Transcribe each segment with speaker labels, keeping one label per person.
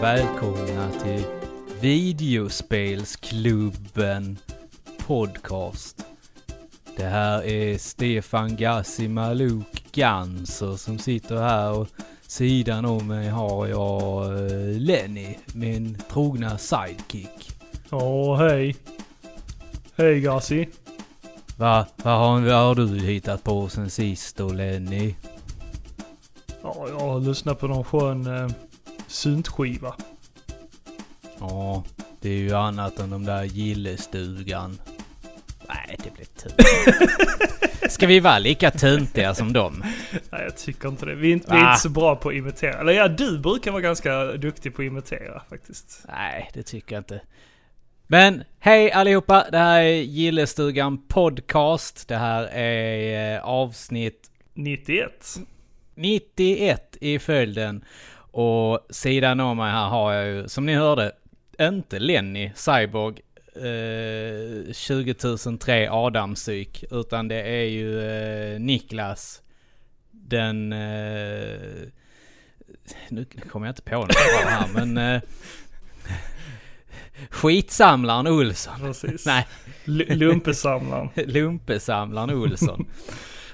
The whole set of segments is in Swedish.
Speaker 1: välkomna till Videospelsklubben Podcast. Det här är Stefan Gassi Maluk Ganser som sitter här och sidan om mig har jag eh, Lenny, min trogna sidekick.
Speaker 2: Ja, hej. Hej Gassi.
Speaker 1: Va, vad, har, vad har du hittat på sen sist då Lenny?
Speaker 2: Ja, jag har lyssnat på någon skön eh, syntskiva.
Speaker 1: Ja, det är ju annat än de där gillestugan. Nej, det blir tunt. Ska vi vara lika töntiga som dem?
Speaker 2: Nej, jag tycker inte det. Vi är inte, vi är
Speaker 1: Ah.
Speaker 2: inte så bra på att imitera. Eller ja, du brukar vara ganska duktig på att imitera faktiskt.
Speaker 1: Nej, det tycker jag inte. Men hej allihopa! Det här är Gillestugan Podcast. Det här är eh, avsnitt
Speaker 2: 91.
Speaker 1: 91 i följden. Och sidan om mig här har jag ju, som ni hörde, inte Lenny Cyborg eh, 20003 Adamsyk, utan det är ju eh, Niklas den... Eh, nu kommer jag inte på något bra här, men... Eh, skitsamlaren Olsson.
Speaker 2: Precis.
Speaker 1: Nej,
Speaker 2: L- lumpesamlaren.
Speaker 1: lumpesamlaren Olsson.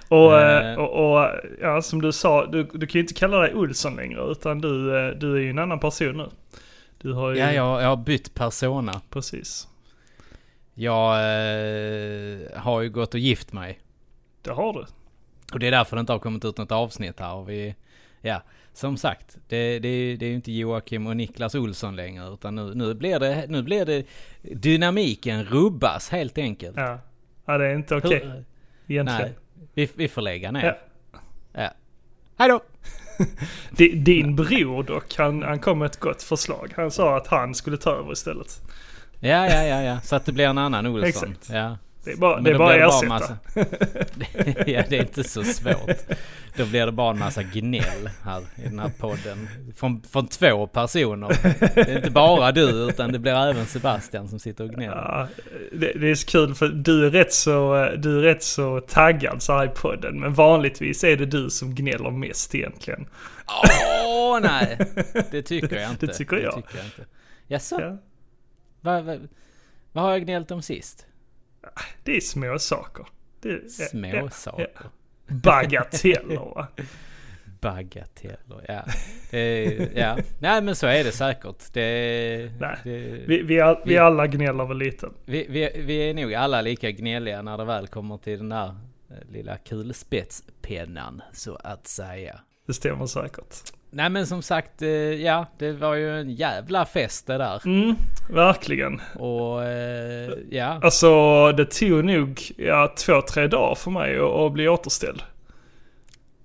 Speaker 2: Och,
Speaker 1: Eh.
Speaker 2: eh, och, och ja, som du sa, du, du kan ju inte kalla dig Olsson längre utan du, eh, du är ju en annan person nu. Du har ju...
Speaker 1: Ja, jag, jag har bytt persona.
Speaker 2: Precis.
Speaker 1: Jag eh, har ju gått och gift mig.
Speaker 2: Det har du.
Speaker 1: Och det är därför det inte har kommit ut något avsnitt här. Och vi, ja, som sagt, det, det, det är ju inte Joakim och Niklas Olsson längre. Utan nu, nu, blir det, nu blir det dynamiken rubbas helt enkelt.
Speaker 2: Ja. Ja, det är inte okej
Speaker 1: Hur-
Speaker 2: egentligen.
Speaker 1: Nej, vi, vi får lägga ner.
Speaker 2: Ja.
Speaker 1: Ja. Hej då!
Speaker 2: Di- Din bror dock, han, han kom med ett gott förslag. Han sa att han skulle ta över istället.
Speaker 1: Ja, ja, ja, ja. Så att det blir en annan Olsson.
Speaker 2: Exakt.
Speaker 1: Ja.
Speaker 2: Det är bara,
Speaker 1: Men
Speaker 2: det är
Speaker 1: då
Speaker 2: bara
Speaker 1: blir det
Speaker 2: ersätta.
Speaker 1: massa- ja, det är inte så svårt. Då blir det bara en massa gnäll här i den här podden. Från, från två personer. Det är inte bara du, utan det blir även Sebastian som sitter och gnäller.
Speaker 2: Ja, det, det är så kul för du är, rätt så, du är rätt så taggad så här i podden. Men vanligtvis är det du som gnäller mest egentligen.
Speaker 1: Åh nej! Det tycker jag inte.
Speaker 2: Det tycker jag.
Speaker 1: Det tycker jag inte. Jaså?
Speaker 2: Ja,
Speaker 1: Vad, vad, vad har jag gnällt om sist?
Speaker 2: det är små saker. Det, ja,
Speaker 1: Små
Speaker 2: ja,
Speaker 1: saker.
Speaker 2: ja. Bagateller va?
Speaker 1: Bagateller, ja. Det är- ja. Nej men så är det säkert. Det,
Speaker 2: Nej,
Speaker 1: det,
Speaker 2: Vi, vi, all, vi alla gnäller väl lite.
Speaker 1: Vi, vi, vi är nog alla lika gnälliga när det väl kommer till den där eh, lilla kulspetspennan, så att säga.
Speaker 2: Det stämmer säkert.
Speaker 1: Nej men som sagt, eh, ja, det var ju en jävla fest det där.
Speaker 2: Mm, verkligen.
Speaker 1: Och eh, ja,
Speaker 2: Alltså det tog nog ja, två, tre dagar för mig att, att bli återställd.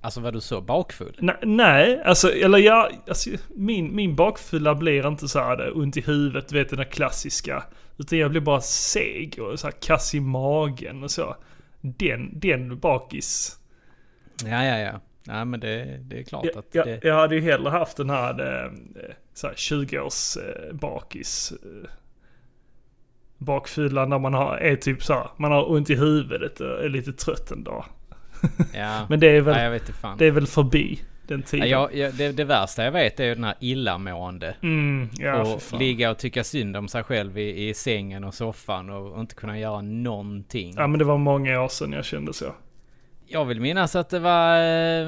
Speaker 1: alltså var du så bakfull?
Speaker 2: Ne- nej, alltså, eller jag, alltså, min, min bakfylla blir inte så här det, ont i huvudet, du vet den där klassiska. Utan jag blir bara seg och så här kass i magen och så. Den, den bakis.
Speaker 1: Ja, ja, ja. Nej men det, det är klart
Speaker 2: Jag,
Speaker 1: att
Speaker 2: jag,
Speaker 1: det...
Speaker 2: jag hade ju hellre haft den här, eh, så här 20-års eh, bakis. Eh, bakfyllan där man har, är typ så här, man har ont i huvudet och är lite trött en dag.
Speaker 1: Ja,
Speaker 2: Men det är väl,
Speaker 1: nej, jag vet inte fan.
Speaker 2: det är väl förbi den
Speaker 1: Ja,
Speaker 2: tiden.
Speaker 1: jag, jag, det, det värsta jag vet är ju den här illamående.
Speaker 2: mm, ja, för
Speaker 1: och
Speaker 2: fan.
Speaker 1: ligga och tycka synd om sig själv i, i sängen och soffan och, och inte kunna göra någonting.
Speaker 2: Ja men det var många år sedan jag kände så.
Speaker 1: Jag vill minnas att det var... eh,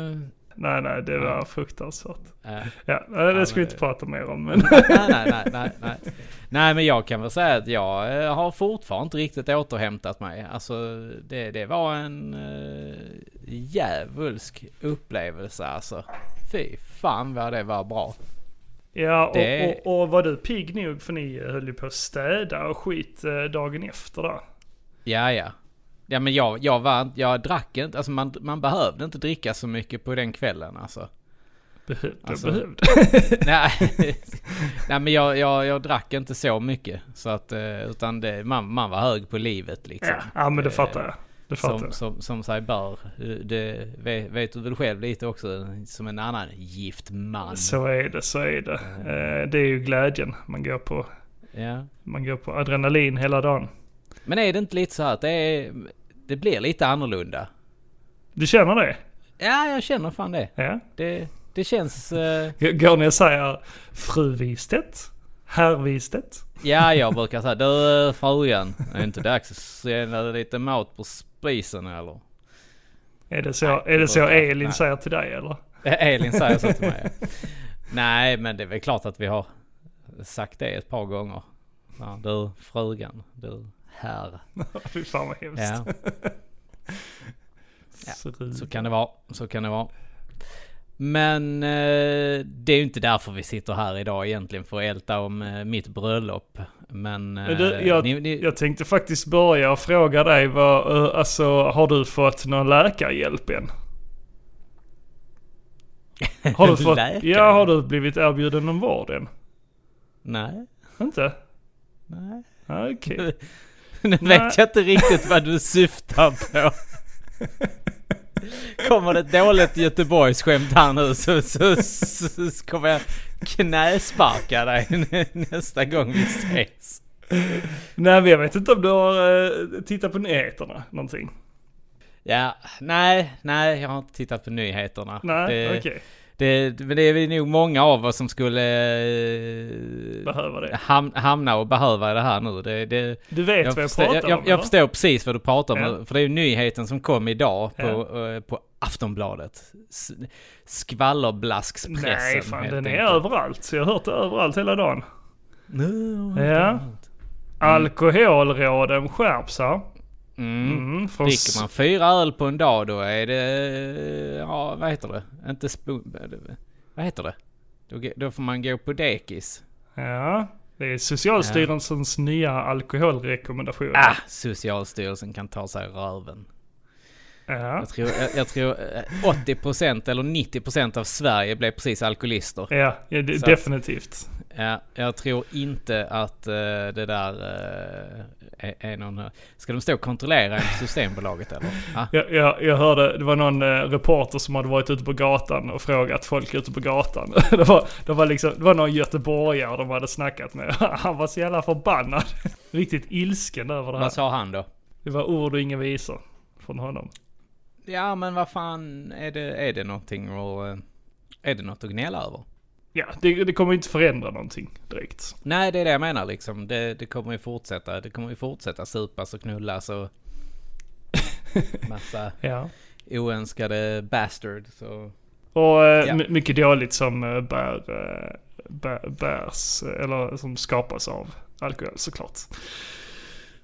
Speaker 2: Nej nej, det var fruktansvärt.
Speaker 1: eh,
Speaker 2: Ja, nej, det
Speaker 1: men
Speaker 2: ska vi
Speaker 1: det-
Speaker 2: inte prata mer om men.
Speaker 1: nej, nej, nej, nej, nej. Nej, men jag kan väl säga att jag eh, har fortfarande inte riktigt återhämtat mig. Alltså, det, det var en eh, djävulsk upplevelse alltså. Fy fan vad det var bra.
Speaker 2: Ja och,
Speaker 1: Det-
Speaker 2: och, och var du pigg nog för ni höll ju på att städa och skit eh, dagen efter där.
Speaker 1: Ja, ja. Ja, men jag, jag, var, inte- jag drack inte. Alltså, man, man behövde inte dricka så mycket på den kvällen alltså.
Speaker 2: Behövde,
Speaker 1: Alltså-
Speaker 2: behövde.
Speaker 1: Nej, Nej men jag, jag, jag drack inte så mycket. Så att, eh, utan det, man, man var hög på livet liksom.
Speaker 2: Ja, ja men det
Speaker 1: Eh,
Speaker 2: fattar jag. Det fattar
Speaker 1: Som,
Speaker 2: jag.
Speaker 1: som, som sig bör. Det vet, vet du väl själv lite också, som en annan gift man.
Speaker 2: Så är det, så är det. Eh, det är ju glädjen. Man går på,
Speaker 1: Ja.
Speaker 2: man går på adrenalin hela dagen.
Speaker 1: Men är det inte lite så här att det, är, det blir lite annorlunda?
Speaker 2: Du känner det?
Speaker 1: Ja, jag känner fan det.
Speaker 2: Ja.
Speaker 1: Det, Det känns... eh,
Speaker 2: Går ni och säger fru Wistedt? Herr Wistedt?
Speaker 1: ja, jag brukar säga du eh, frugan, är det inte dags att sända lite mat på spisen eller?
Speaker 2: Är det så, är det så
Speaker 1: nej.
Speaker 2: Elin säger till dig eller?
Speaker 1: Eh, Elin säger så till mig. ja. Nej, men det är väl klart att vi har sagt det ett par gånger. Ja, du frugan, du herr.
Speaker 2: Fy fan vad hemskt.
Speaker 1: Ja, Ja,
Speaker 2: Fru.
Speaker 1: så kan det vara. Så kan det vara. Men eh, det är ju inte därför vi sitter här idag egentligen för att älta om eh, mitt bröllop. Men... Eh,
Speaker 2: Men Du, jag,
Speaker 1: ni, ni,
Speaker 2: jag tänkte faktiskt börja och fråga dig vad, eh, alltså har du fått någon läkarhjälp än? Har du fått,
Speaker 1: Läkare?
Speaker 2: ja, har du blivit erbjuden någon vård än?
Speaker 1: Nej,
Speaker 2: Inte?
Speaker 1: nej.
Speaker 2: Ah, Okej.
Speaker 1: Nu
Speaker 2: Nej.
Speaker 1: vet jag inte riktigt vad du syftar på. Kommer det ett dåligt Göteborgsskämt här nu så, så, så, så kommer jag knäsparka dig nä- nästa gång vi ses.
Speaker 2: Nej, men jag vet inte om du har eh, tittat på nyheterna någonting?
Speaker 1: Ja, nej, nej, jag har inte tittat på nyheterna.
Speaker 2: Nej,
Speaker 1: det,
Speaker 2: okej.
Speaker 1: det, men det är väl nog många av oss som skulle eh,
Speaker 2: Behöver det.
Speaker 1: ham, hamna och behöva det här nu. Det, det,
Speaker 2: Du vet vad jag
Speaker 1: förstår-
Speaker 2: pratar
Speaker 1: jag, jag,
Speaker 2: om
Speaker 1: jag
Speaker 2: eller?
Speaker 1: förstår precis vad du pratar om.
Speaker 2: Ja.
Speaker 1: För det är ju nyheten som kom idag på, eh, på Aftonbladet. S- Skvallerblaskpressen.
Speaker 2: Nej, fan
Speaker 1: helt
Speaker 2: den är
Speaker 1: enkelt.
Speaker 2: överallt. Så jag har hört det överallt hela dagen.
Speaker 1: Nu har jag
Speaker 2: Ja.
Speaker 1: inte hört.
Speaker 2: Alkoholråden skärps här.
Speaker 1: Mm.
Speaker 2: Mm, från
Speaker 1: Dricker man fyra öl på en dag då är det... eh, Ja, vad heter det? Inte spoon... Vad heter det? Då, ge- då får man gå på dekis.
Speaker 2: Ja, det är Socialstyrelsens nya alkoholrekommendationer.
Speaker 1: Ah, Socialstyrelsen kan ta sig i röven.
Speaker 2: Ja.
Speaker 1: Jag tror, jag, jag tror eh, 80% eller 90% av Sverige blev precis alkoholister.
Speaker 2: Ja, ja det,
Speaker 1: Så.
Speaker 2: definitivt.
Speaker 1: Ja, jag tror inte att eh, det där eh, är, är någon... Ska de stå och kontrollera en på Systembolaget eller? Ah,
Speaker 2: Jag, jag, jag hörde, det var någon eh, reporter som hade varit ute på gatan och frågat folk ute på gatan. Det var, det var, liksom, det var någon göteborgare de hade snackat med. Han var så jävla förbannad. Riktigt ilsken över det här.
Speaker 1: vad sa han då?
Speaker 2: Det var ord och inga visor från honom.
Speaker 1: Ja men vad fan, är det, är det någonting och, eh, Är det något att gnälla över?
Speaker 2: Ja, det, det kommer inte förändra någonting direkt.
Speaker 1: Nej det är det jag menar liksom. Det, det kommer ju fortsätta. Det kommer ju fortsätta supas och knullas och... Massa
Speaker 2: Ja.
Speaker 1: oönskade bastards och...
Speaker 2: Och eh,
Speaker 1: Ja.
Speaker 2: my- mycket dåligt som eh, bär, eh, bär, bärs, eh, eller som skapas av alkohol såklart.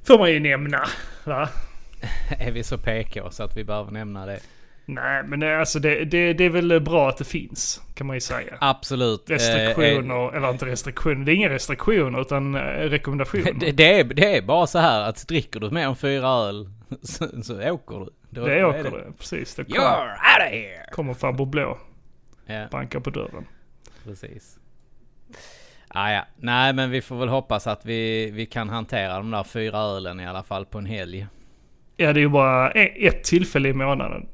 Speaker 2: Får man ju nämna, va?
Speaker 1: Är vi så PK så att vi behöver nämna det?
Speaker 2: Nej, men eh, alltså det, det, det är väl bra att det finns, kan man ju säga.
Speaker 1: Absolut. eh,
Speaker 2: Restriktioner, eller inte restriktioner, det är inga restriktioner utan eh, rekommendationer.
Speaker 1: Det, det, är, det är bara så här att dricker du mer än fyra öl så, så åker du. Då,
Speaker 2: det
Speaker 1: då
Speaker 2: åker det, precis. Det kommer,
Speaker 1: You're out of here!
Speaker 2: kommer farbror blå,
Speaker 1: Ja,
Speaker 2: bankar på dörren.
Speaker 1: precis. Ah, ja. Nej men vi får väl hoppas att vi, vi kan hantera de där fyra ölen i alla fall på en helg.
Speaker 2: Ja, det är ju bara e- ett tillfälle i månaden.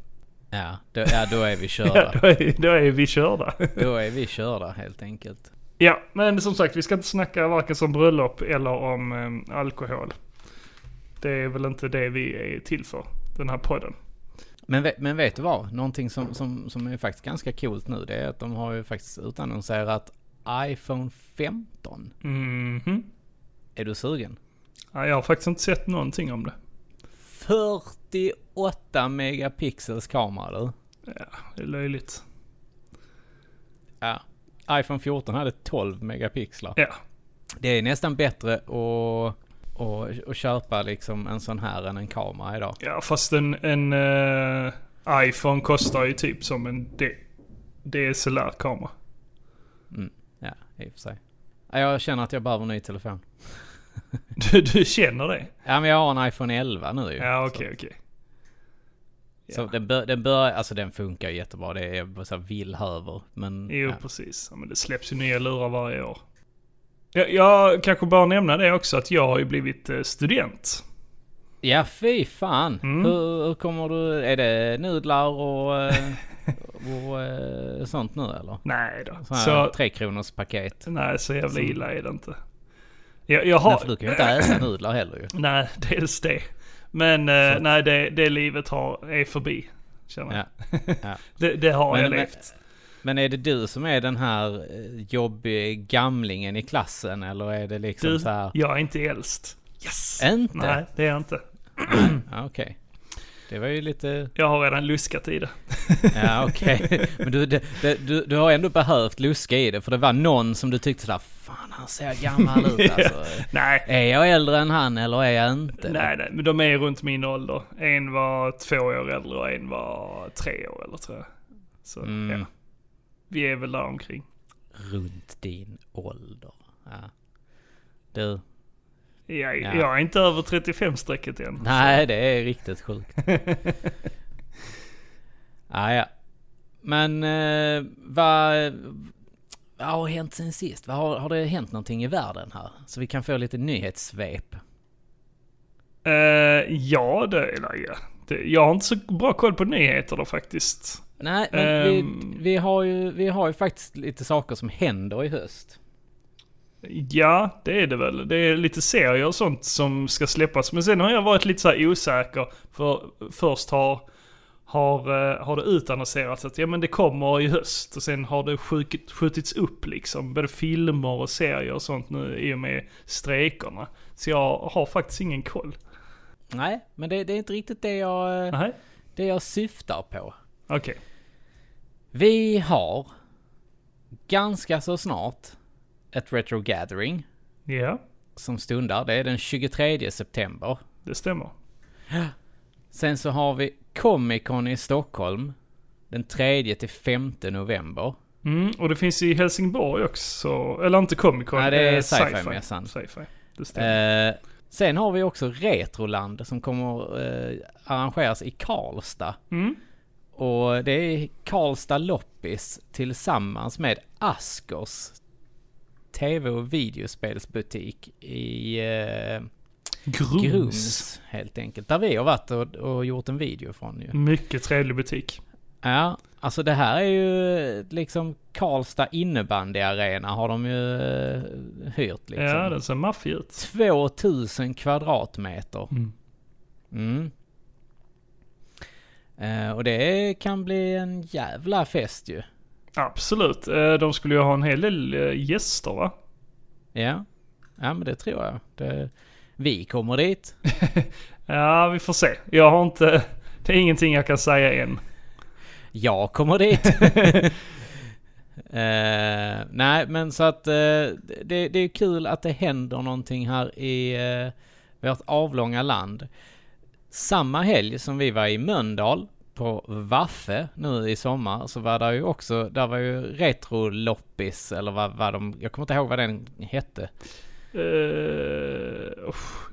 Speaker 1: Ja, då, ja, då är vi
Speaker 2: Ja,
Speaker 1: körda.
Speaker 2: då, är, då är vi körda.
Speaker 1: Då är vi körda helt enkelt.
Speaker 2: Ja, men som sagt, vi ska inte snacka varken som bröllop eller om eh, alkohol. Det är väl inte det vi är till för, den här podden.
Speaker 1: Men, ve- men vet du vad? Någonting som, som, som är faktiskt ganska coolt nu det är att de har ju faktiskt utannonserat iPhone 15.
Speaker 2: Mhm.
Speaker 1: Är du sugen?
Speaker 2: Ja, jag har faktiskt inte sett någonting om det.
Speaker 1: 48 megapixels kamera du.
Speaker 2: Det är löjligt.
Speaker 1: Ja. iPhone 14 hade 12 megapixlar.
Speaker 2: Ja,
Speaker 1: Det är nästan bättre att, att, att köpa liksom en sån här än en kamera idag.
Speaker 2: ja fast en, en eh, iPhone kostar ju typ som en D- DSLR-kamera.
Speaker 1: Ja, i och för sig. Ja, Jag känner att jag behöver en ny telefon.
Speaker 2: Du, du känner det?
Speaker 1: Ja men jag har en iPhone 11 nu ju.
Speaker 2: Ja, okej, okej.
Speaker 1: Så, så den, bör, den börjar, alltså den funkar jättebra. Det är bara så här villhöver. Men
Speaker 2: Jo,
Speaker 1: ja.
Speaker 2: precis. Ja, men det släpps ju nya lurar varje år. Jag, jag kanske bara nämna det också att jag har ju blivit eh, student.
Speaker 1: ja fy fan.
Speaker 2: Mm.
Speaker 1: Hur, hur kommer du, är det nudlar och, eh, och eh, sånt nu eller?
Speaker 2: Nej då.
Speaker 1: Sådana här
Speaker 2: Så,
Speaker 1: tre kronors paket.
Speaker 2: nej, så jävla illa är det inte. Jag, jag
Speaker 1: Nej,
Speaker 2: har...
Speaker 1: för du kan ju inte äta nudlar heller ju.
Speaker 2: Nej, dels det. Men eh, nej, det, det livet har, är förbi. Känner jag.
Speaker 1: Ja. ja.
Speaker 2: Det, det har
Speaker 1: Men-
Speaker 2: jag
Speaker 1: men-
Speaker 2: levt.
Speaker 1: Men är det du som är den här eh, jobbiga gamlingen i klassen eller är det liksom
Speaker 2: Du,
Speaker 1: så här?
Speaker 2: jag är inte äldst. Yes!
Speaker 1: Inte?
Speaker 2: Nej, det är jag inte.
Speaker 1: Ja, Okej. Det var ju lite...
Speaker 2: Jag har redan luskat i det.
Speaker 1: Ja okej. Men du, det, det, du, du har ändå behövt luska i det för det var någon som du tyckte sådär Fan han ser gammal ut alltså.
Speaker 2: Nej,
Speaker 1: Är jag äldre än han eller är jag inte?
Speaker 2: nej, nej, men de är runt min ålder. En var två år äldre och en var tre år äldre tror jag. Så
Speaker 1: Mm.
Speaker 2: ja, vi är väl där omkring.
Speaker 1: Runt din ålder. Ja. Du.
Speaker 2: Jag,
Speaker 1: Ja.
Speaker 2: jag är inte över 35-strecket än.
Speaker 1: Nej det är riktigt sjukt. ah, ja. Men eh, vad... Vad har hänt sen sist? Vad har, har det hänt någonting i världen här? Så vi kan få lite nyhetssvep.
Speaker 2: Eh, ja, det är det. ja. Det- Jag har inte så bra koll på nyheter då faktiskt.
Speaker 1: Nej, men
Speaker 2: Ehm.
Speaker 1: vi, vi, har ju, vi har ju faktiskt lite saker som händer i höst.
Speaker 2: Ja, det är det väl. Det är lite serier och sånt som ska släppas. Men sen har jag varit lite så här osäker. För först har, har, eh, har det utannonserats att ja, men det kommer i höst. Och sen har det skjut, skjutits upp liksom. Både filmer och serier och sånt nu i och med strejkerna. Så jag har faktiskt ingen koll.
Speaker 1: Nej, men det, det är inte riktigt det jag,
Speaker 2: Nej,
Speaker 1: det jag syftar på.
Speaker 2: okej.
Speaker 1: Vi har ganska så snart ett Retro Gathering
Speaker 2: Ja,
Speaker 1: som stundar. Det är den 23 september.
Speaker 2: det stämmer.
Speaker 1: Sen så har vi Comic Con i Stockholm den 3 till 5 november.
Speaker 2: Mm, och det finns i Helsingborg också. Eller inte Comic Con.
Speaker 1: Nej, det är
Speaker 2: eh,
Speaker 1: sci-fi mässan.
Speaker 2: Sci-fi. Det stämmer.
Speaker 1: Eh, sen har vi också Retroland som kommer eh, arrangeras i Karlstad.
Speaker 2: Mm.
Speaker 1: Och det är Karlstad Loppis tillsammans med Askers TV och videospelsbutik i eh,
Speaker 2: Grums.
Speaker 1: Grums helt enkelt. Där vi har varit och, och gjort en video från ju.
Speaker 2: Mycket trevlig butik.
Speaker 1: Ja, alltså det här är ju liksom Karlstad innebandyarena har de ju eh, hyrt liksom.
Speaker 2: Ja, den ser maffig ut.
Speaker 1: 2000 kvadratmeter.
Speaker 2: Mm.
Speaker 1: Mm. Eh, och det kan bli en jävla fest ju.
Speaker 2: Absolut. Eh, De skulle ju ha en hel del eh, gäster va?
Speaker 1: Ja, ja men det tror jag. Det, vi kommer dit.
Speaker 2: Ja, vi får se. Jag har inte... Det är ingenting jag kan säga än.
Speaker 1: Jag kommer dit. Eh, nej, men så att eh, det, det är kul att det händer någonting här i eh, vårt avlånga land. Samma helg som vi var i Mölndal på Waffe nu i sommar så var det ju också, där var ju Retroloppis eller vad, vad de, jag kommer inte ihåg vad den hette.
Speaker 2: Uh,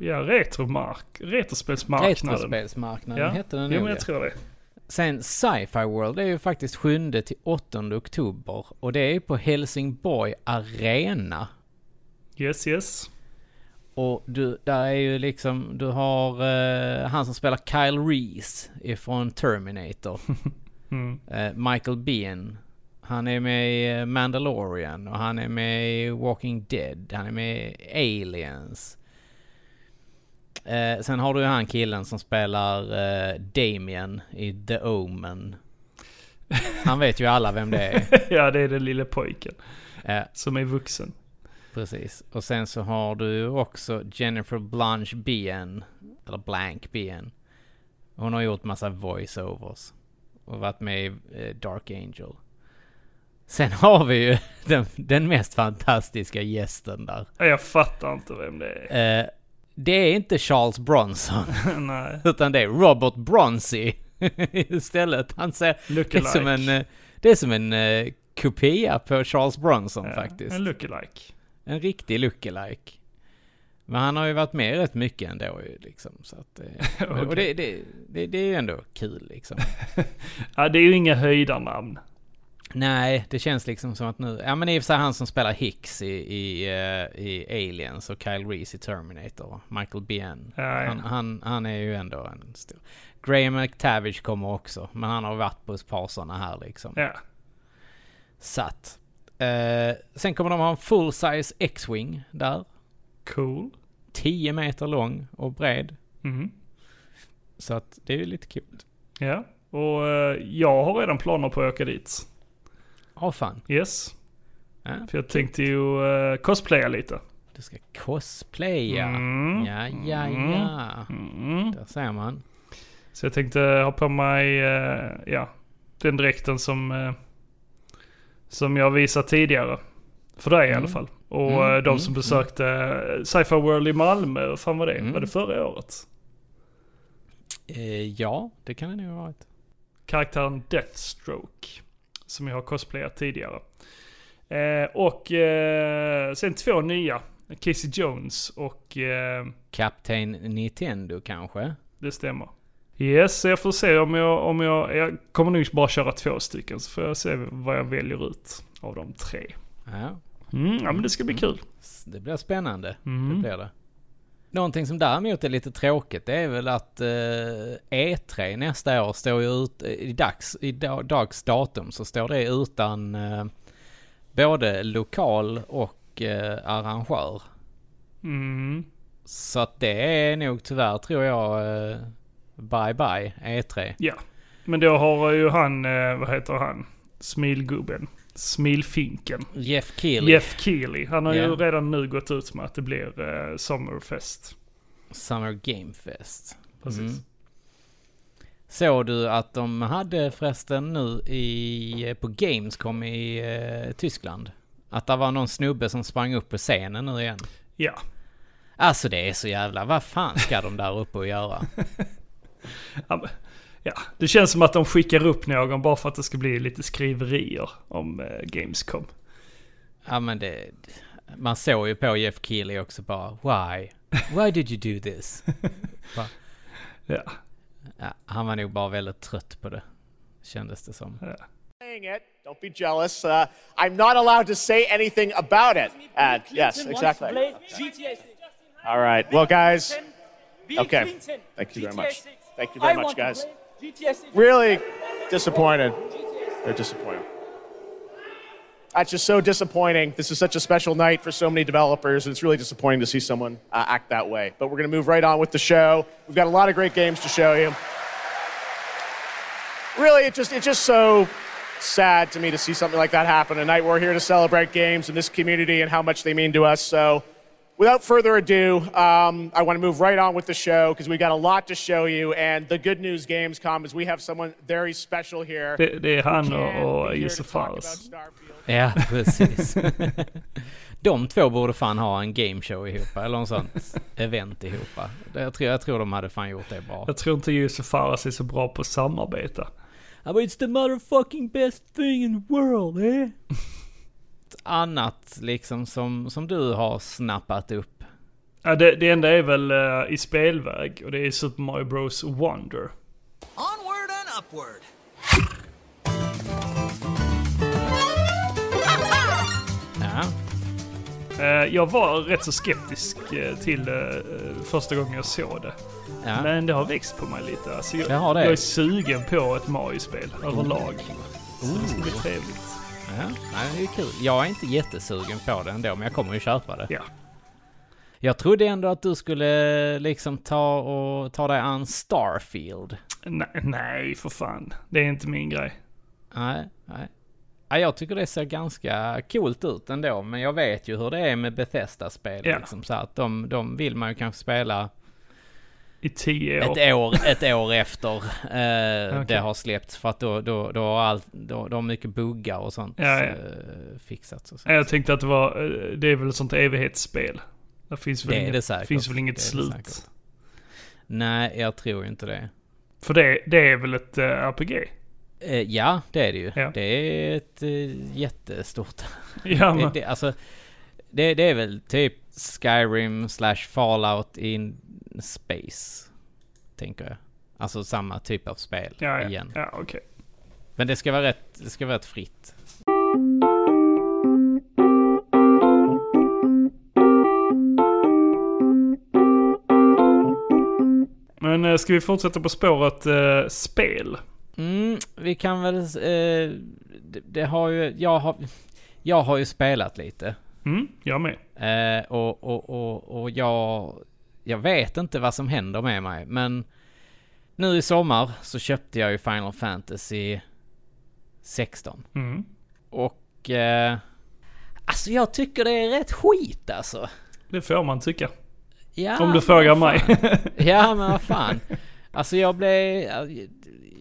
Speaker 2: ja, retromark... Retrospelsmarknaden.
Speaker 1: Retrospelsmarknaden
Speaker 2: Ja.
Speaker 1: hette den
Speaker 2: Jo,
Speaker 1: nog,
Speaker 2: men
Speaker 1: ja.
Speaker 2: jag tror det.
Speaker 1: Sen Sci-Fi World är ju faktiskt 7 till 8 oktober och det är ju på Helsingborg Arena.
Speaker 2: Yes, yes.
Speaker 1: Och du, där är ju liksom, du har eh, han som spelar Kyle Reese ifrån Terminator.
Speaker 2: Mm.
Speaker 1: Eh, Michael Biehn. Han är med i eh, Mandalorian och han är med i Walking Dead. Han är med i Aliens. Eh, sen har du ju han killen som spelar eh, Damien i The Omen. Han vet ju alla vem det är.
Speaker 2: ja, det är den lille pojken
Speaker 1: Eh,
Speaker 2: som är vuxen.
Speaker 1: precis. Och sen så har du ju också Jennifer Blanche Bien. Eller Blank Bien. Hon har gjort massa voiceovers. Och varit med i eh, Dark Angel. Sen har vi ju den, den mest fantastiska gästen där.
Speaker 2: Ja, Jag fattar inte vem det är.
Speaker 1: Eh, det är inte Charles Bronson,
Speaker 2: Nej.
Speaker 1: utan det är Robert Bronzy istället. Han ser... Det är
Speaker 2: Lookalike.
Speaker 1: som en, eh, det är som en eh, kopia på Charles Bronson
Speaker 2: Ja,
Speaker 1: faktiskt.
Speaker 2: En lookalike.
Speaker 1: En riktig lookalike. Men han har ju varit med rätt mycket ändå ju, liksom. Så att, eh,
Speaker 2: Okej.
Speaker 1: Och det, det, det, det är ju ändå kul liksom.
Speaker 2: Ja, det är ju inga höjdarnamn.
Speaker 1: Nej, det känns liksom som att nu... Ja men i och för sig han som spelar Hicks i, i, eh, i Aliens och Kyle Reese i Terminator. Michael Biehn.
Speaker 2: Ja, ja.
Speaker 1: Han, han, han är ju ändå en stor... Graham McTavish kommer också. Men han har varit på ett par sådana här liksom.
Speaker 2: Ja.
Speaker 1: Satt. Eh, sen kommer de ha en full size X-Wing där.
Speaker 2: Cool.
Speaker 1: 10 meter lång och bred.
Speaker 2: Mm.
Speaker 1: Så att det är ju lite kul.
Speaker 2: Ja. Och eh, jag har redan planer på att åka dit.
Speaker 1: Åh Åh fan.
Speaker 2: Yes.
Speaker 1: Ja,
Speaker 2: För jag tänkte ju eh, cosplaya lite.
Speaker 1: du ska cosplaya.
Speaker 2: Mm.
Speaker 1: Ja, ja, ja.
Speaker 2: Mm.
Speaker 1: Där ser man.
Speaker 2: Så jag tänkte ha på mig, eh, ja, den dräkten som, eh, som jag visat tidigare. För dig i alla fall. Och
Speaker 1: Mm,
Speaker 2: eh, de
Speaker 1: mm,
Speaker 2: som besökte eh, Sci-Fi World i Malmö, vad fan var det?
Speaker 1: Mm.
Speaker 2: Var det förra året?
Speaker 1: Eh, ja, det kan det nog ha varit.
Speaker 2: Karaktären Deathstroke. Som jag har cosplayat tidigare. Eh, och eh, sen två nya. Casey Jones och eh,
Speaker 1: Kapten Nintendo kanske?
Speaker 2: Det stämmer. Yes, så jag får se om jag, om jag... Jag kommer nog bara köra två stycken, så får jag se vad jag väljer ut av de tre.
Speaker 1: Ja,
Speaker 2: Mm, ja, men det ska bli kul.
Speaker 1: s- det blir spännande. Det
Speaker 2: Mm.
Speaker 1: blir det. Någonting som däremot är lite tråkigt det är väl att eh, E3 nästa år står ju ut, eh, i dags, i da- dags datum så står det utan eh, både lokal och eh, arrangör.
Speaker 2: Mm.
Speaker 1: Så att det är nog tyvärr tror jag eh, bye bye E E3.
Speaker 2: Ja, men då har ju han, eh, vad heter han, smilgubben, smilfinken.
Speaker 1: Jeff Keely.
Speaker 2: Jeff Keely. Han har ju
Speaker 1: Ja.
Speaker 2: redan nu gått ut med att det blir eh, Summerfest.
Speaker 1: Summer Game Fest.
Speaker 2: Precis.
Speaker 1: Mm. Såg du att de hade förresten nu i, eh, på Gamescom i eh, Tyskland? Att det var någon snubbe som sprang upp på scenen nu igen.
Speaker 2: Ja.
Speaker 1: Alltså det är så jävla, vad fan ska de där uppe och göra?
Speaker 2: Ja, men- ja, det känns som att de skickar upp någon bara för att det ska bli lite skriverier om eh, Gamescom.
Speaker 1: Ja men det, man såg ju på Jeff Keely också bara, why? Why did you do this?
Speaker 2: Ja.
Speaker 1: Ja, han var nog bara väldigt trött på det, kändes det som.
Speaker 3: saying it. Don't be jealous. Uh, I'm not allowed to say anything about it. Uh, yes, exactly. All right. Well, guys, Okay. Thank you very much. Thank you very much, guys. really disappointed. They're disappointed. That's just so disappointing. This is such a special night for so many developers, and it's really disappointing to see someone uh, act that way. But we're going to move right on with the show. We've got a lot of great games to show you. Really, it just it's just so sad to me to see something like that happen. Tonight we're here to celebrate games and this community and how much they mean to us. So, without further ado, um, I want to move right on with the show because we got a lot to show you. And the good news, Gamescom, is we have someone very special here.
Speaker 2: Det, det är han
Speaker 3: And
Speaker 2: och, och
Speaker 3: we're here to talk about
Speaker 2: Josefares.
Speaker 3: Starfield.
Speaker 1: Ja, precis. de två borde fan ha en gameshow ihop, eller en sån event ihop. Det- Jag tror, jag tror de hade fan gjort det bra.
Speaker 2: Jag tror inte Josefares är så bra på att samarbeta.
Speaker 1: Ah, but it's the motherfucking best thing in the world, eh? Annat liksom som, som du har snappat upp.
Speaker 2: Ja, det, det enda är väl eh, i spelväg och det är Super Mario Bros Wonder.
Speaker 4: Onward and upward.
Speaker 1: Ja,
Speaker 2: Eh, jag var rätt så skeptisk eh, till eh, första gången jag såg det.
Speaker 1: ja.
Speaker 2: Men det har växt på mig lite. Alltså, jag,
Speaker 1: Det har det.
Speaker 2: jag är sugen på ett Mario-spel överlag. Så det ska bli trevligt.
Speaker 1: ja. Nej, det är kul. Jag är inte jättesugen på det ändå, men jag kommer ju köpa det.
Speaker 2: Ja.
Speaker 1: Jag trodde ändå att du skulle liksom ta och ta dig an Starfield.
Speaker 2: Nej, nej, för fan. Det är inte min grej.
Speaker 1: Nej, nej. Ja, jag tycker det ser ganska coolt ut ändå, men jag vet ju hur det är med Bethesda-spel.
Speaker 2: Ja.
Speaker 1: Liksom, så att de, de vill man ju kanske spela
Speaker 2: I tio år.
Speaker 1: ett e- år, ett år efter eh,
Speaker 2: Okej.
Speaker 1: det har släppts. För att då, då, då har allt, då, då har mycket buggar och sånt
Speaker 2: Ja, ja.
Speaker 1: eh, fixats. Och så.
Speaker 2: Nej, Jag tänkte att det var, eh, det är väl ett sånt evighetsspel. Det finns väl
Speaker 1: Det är
Speaker 2: inget,
Speaker 1: det säkert.
Speaker 2: Finns väl inget
Speaker 1: Det är det
Speaker 2: slut.
Speaker 1: säkert. Nej, jag tror ju inte det.
Speaker 2: För det, det är väl ett eh, RPG?
Speaker 1: Eh, ja, det är det ju.
Speaker 2: Ja.
Speaker 1: Det är ett eh, jättestort
Speaker 2: Ja,
Speaker 1: Det,
Speaker 2: men,
Speaker 1: det, alltså, det, det är väl typ Skyrim slash Fallout in space. Tänker jag. Alltså samma typ av spel
Speaker 2: ja, ja,
Speaker 1: igen.
Speaker 2: ja okej.
Speaker 1: Men det ska vara rätt, det ska vara rätt fritt.
Speaker 2: Men eh, ska vi fortsätta på spåret eh, spel?
Speaker 1: Mm, vi kan väl... Eh, det, det har ju... Jag har, jag har ju spelat lite.
Speaker 2: Mm, jag med.
Speaker 1: Eh, och och, och, och jag, jag vet inte vad som händer med mig, men nu i sommar så köpte jag ju Final Fantasy 16.
Speaker 2: Mm.
Speaker 1: Och... Eh, alltså jag tycker det är rätt skit alltså.
Speaker 2: Det får man tycka.
Speaker 1: Ja,
Speaker 2: Om du
Speaker 1: men
Speaker 2: frågar
Speaker 1: vad fan.
Speaker 2: mig.
Speaker 1: Ja men vad fan. Alltså jag blev...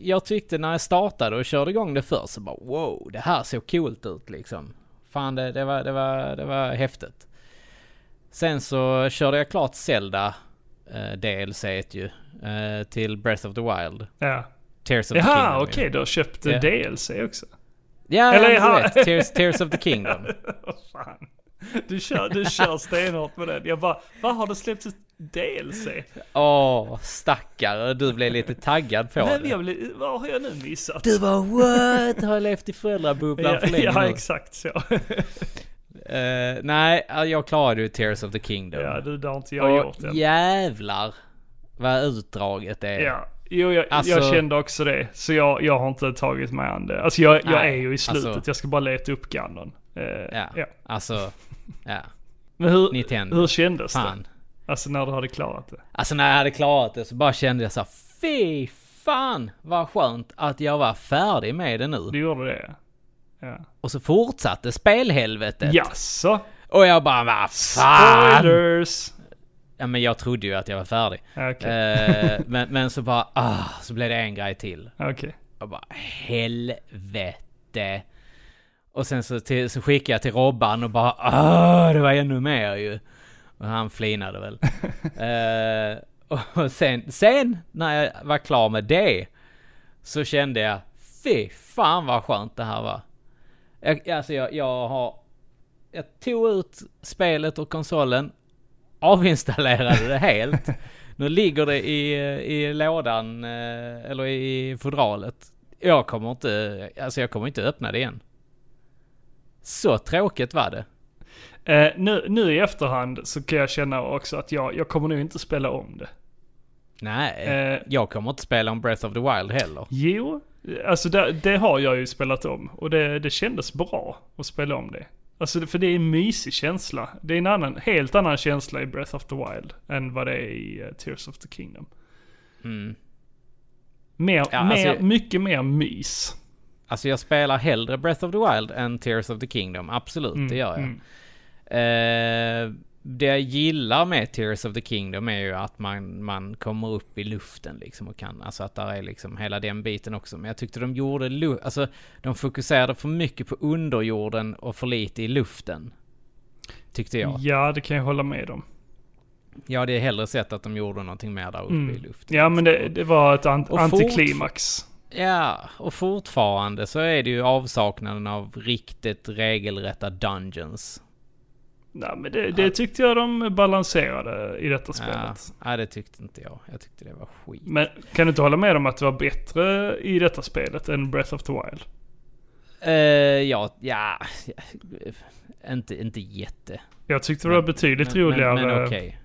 Speaker 1: Jag tyckte när jag startade och körde igång det först så bara wow, det här såg coolt ut liksom. Fan det, det, var, det, var, det var häftigt. Sen så körde jag klart Zelda eh, DLC ju. Eh, till Breath of the Wild.
Speaker 2: ja.
Speaker 1: Tears of the Kingdom.
Speaker 2: Jaha,
Speaker 1: ju.
Speaker 2: okej. du har köpt
Speaker 1: Ja.
Speaker 2: yeah. DLC också.
Speaker 1: Ja,
Speaker 2: Eller
Speaker 1: Eller, ja
Speaker 2: jaha.
Speaker 1: men du vet. Tears, Tears of the Kingdom.
Speaker 2: Vad fan. Du kör, du kör stenhårt med den. Jag bara, vad har det släppts ett DLC?
Speaker 1: Åh, stackare. Du blev lite taggad på
Speaker 2: Men
Speaker 1: det.
Speaker 2: jag blir, vad har jag nu missat?
Speaker 1: Du bara what? Har jag levt i föräldrabubblan
Speaker 2: ja,
Speaker 1: för länge
Speaker 2: ja,
Speaker 1: nu?
Speaker 2: exakt så.
Speaker 1: Eh, nej, jag klarade ju Tears of the Kingdom.
Speaker 2: Ja, du, det har inte jag gjort
Speaker 1: och
Speaker 2: än.
Speaker 1: jävlar vad utdraget är.
Speaker 2: Ja. Jo, jag, jag
Speaker 1: Alltså-
Speaker 2: kände också det. Så jag, jag har inte tagit mig an det. Alltså jag, jag
Speaker 1: Nej,
Speaker 2: är ju i slutet.
Speaker 1: alltså-
Speaker 2: jag ska bara leta upp Ganon. Eh,
Speaker 1: Ja,
Speaker 2: ja.
Speaker 1: alltså, ja,
Speaker 2: Men hur,
Speaker 1: Nintendo.
Speaker 2: hur kändes det?
Speaker 1: fan.
Speaker 2: Alltså när du hade klarat det?
Speaker 1: Alltså när jag hade klarat det så bara kände jag så här, fy fan vad skönt att jag var färdig med det nu.
Speaker 2: Du gjorde det? Ja.
Speaker 1: Och så fortsatte spelhelvetet.
Speaker 2: Jaså?
Speaker 1: Och jag bara, vad fan!
Speaker 2: Spoilers!
Speaker 1: Ja men jag trodde ju att jag var färdig.
Speaker 2: Okej.
Speaker 1: Eh, men, men så bara, ah, så blev det en grej till.
Speaker 2: Okej.
Speaker 1: Jag bara helvete. Och sen så, till, så skickade jag till Robban och bara Åh, det var ännu mer ju. Och han flinade väl. Eh, och sen, sen när jag var klar med det så kände jag fy fan vad skönt det här var. Jag, alltså jag, jag har... Jag tog ut spelet och konsolen, avinstallerade det helt. Nu ligger det i, i lådan, eh, eller i fodralet. Jag kommer inte, alltså jag kommer inte öppna det igen. Så tråkigt var det.
Speaker 2: Eh, nu, nu i efterhand så kan jag känna också att jag, jag kommer nog inte spela om det.
Speaker 1: Nej,
Speaker 2: Eh.
Speaker 1: jag kommer inte spela om Breath of the Wild heller.
Speaker 2: Jo, alltså det, det har jag ju spelat om och det, det kändes bra att spela om det. Alltså det- för det är en mysig känsla. Det är en annan, helt annan känsla i Breath of the Wild än vad det är i eh, Tears of the Kingdom. Mer,
Speaker 1: Mm. Ja,
Speaker 2: mer,
Speaker 1: alltså-
Speaker 2: mycket mer mys.
Speaker 1: Alltså jag spelar hellre Breath of the Wild än Tears of the Kingdom, absolut, det gör jag. Eh, det jag gillar med Tears of the Kingdom är ju att man, man kommer upp i luften liksom och kan, alltså att där är liksom hela den biten också. Men jag tyckte de gjorde, lu- alltså de fokuserade för mycket på underjorden och för lite i luften. Tyckte jag.
Speaker 2: Ja, det kan jag hålla med om.
Speaker 1: Jag hade hellre sett att de gjorde någonting mer där uppe i luften.
Speaker 2: Ja, men det, det var ett ant-
Speaker 1: Och fort-
Speaker 2: antiklimax.
Speaker 1: Ja, och fortfarande så är det ju avsaknaden av riktigt regelrätta dungeons.
Speaker 2: Nej, men det, det tyckte jag de balanserade i detta
Speaker 1: Ja,
Speaker 2: spelet.
Speaker 1: ja, det tyckte inte jag. Jag tyckte det var skit.
Speaker 2: Men kan du inte hålla med om att det var bättre i detta spelet än Breath of the Wild?
Speaker 1: Eh, ja, ja, inte, inte jätte.
Speaker 2: Jag tyckte det var betydligt
Speaker 1: Men,
Speaker 2: roligare
Speaker 1: men, men okej.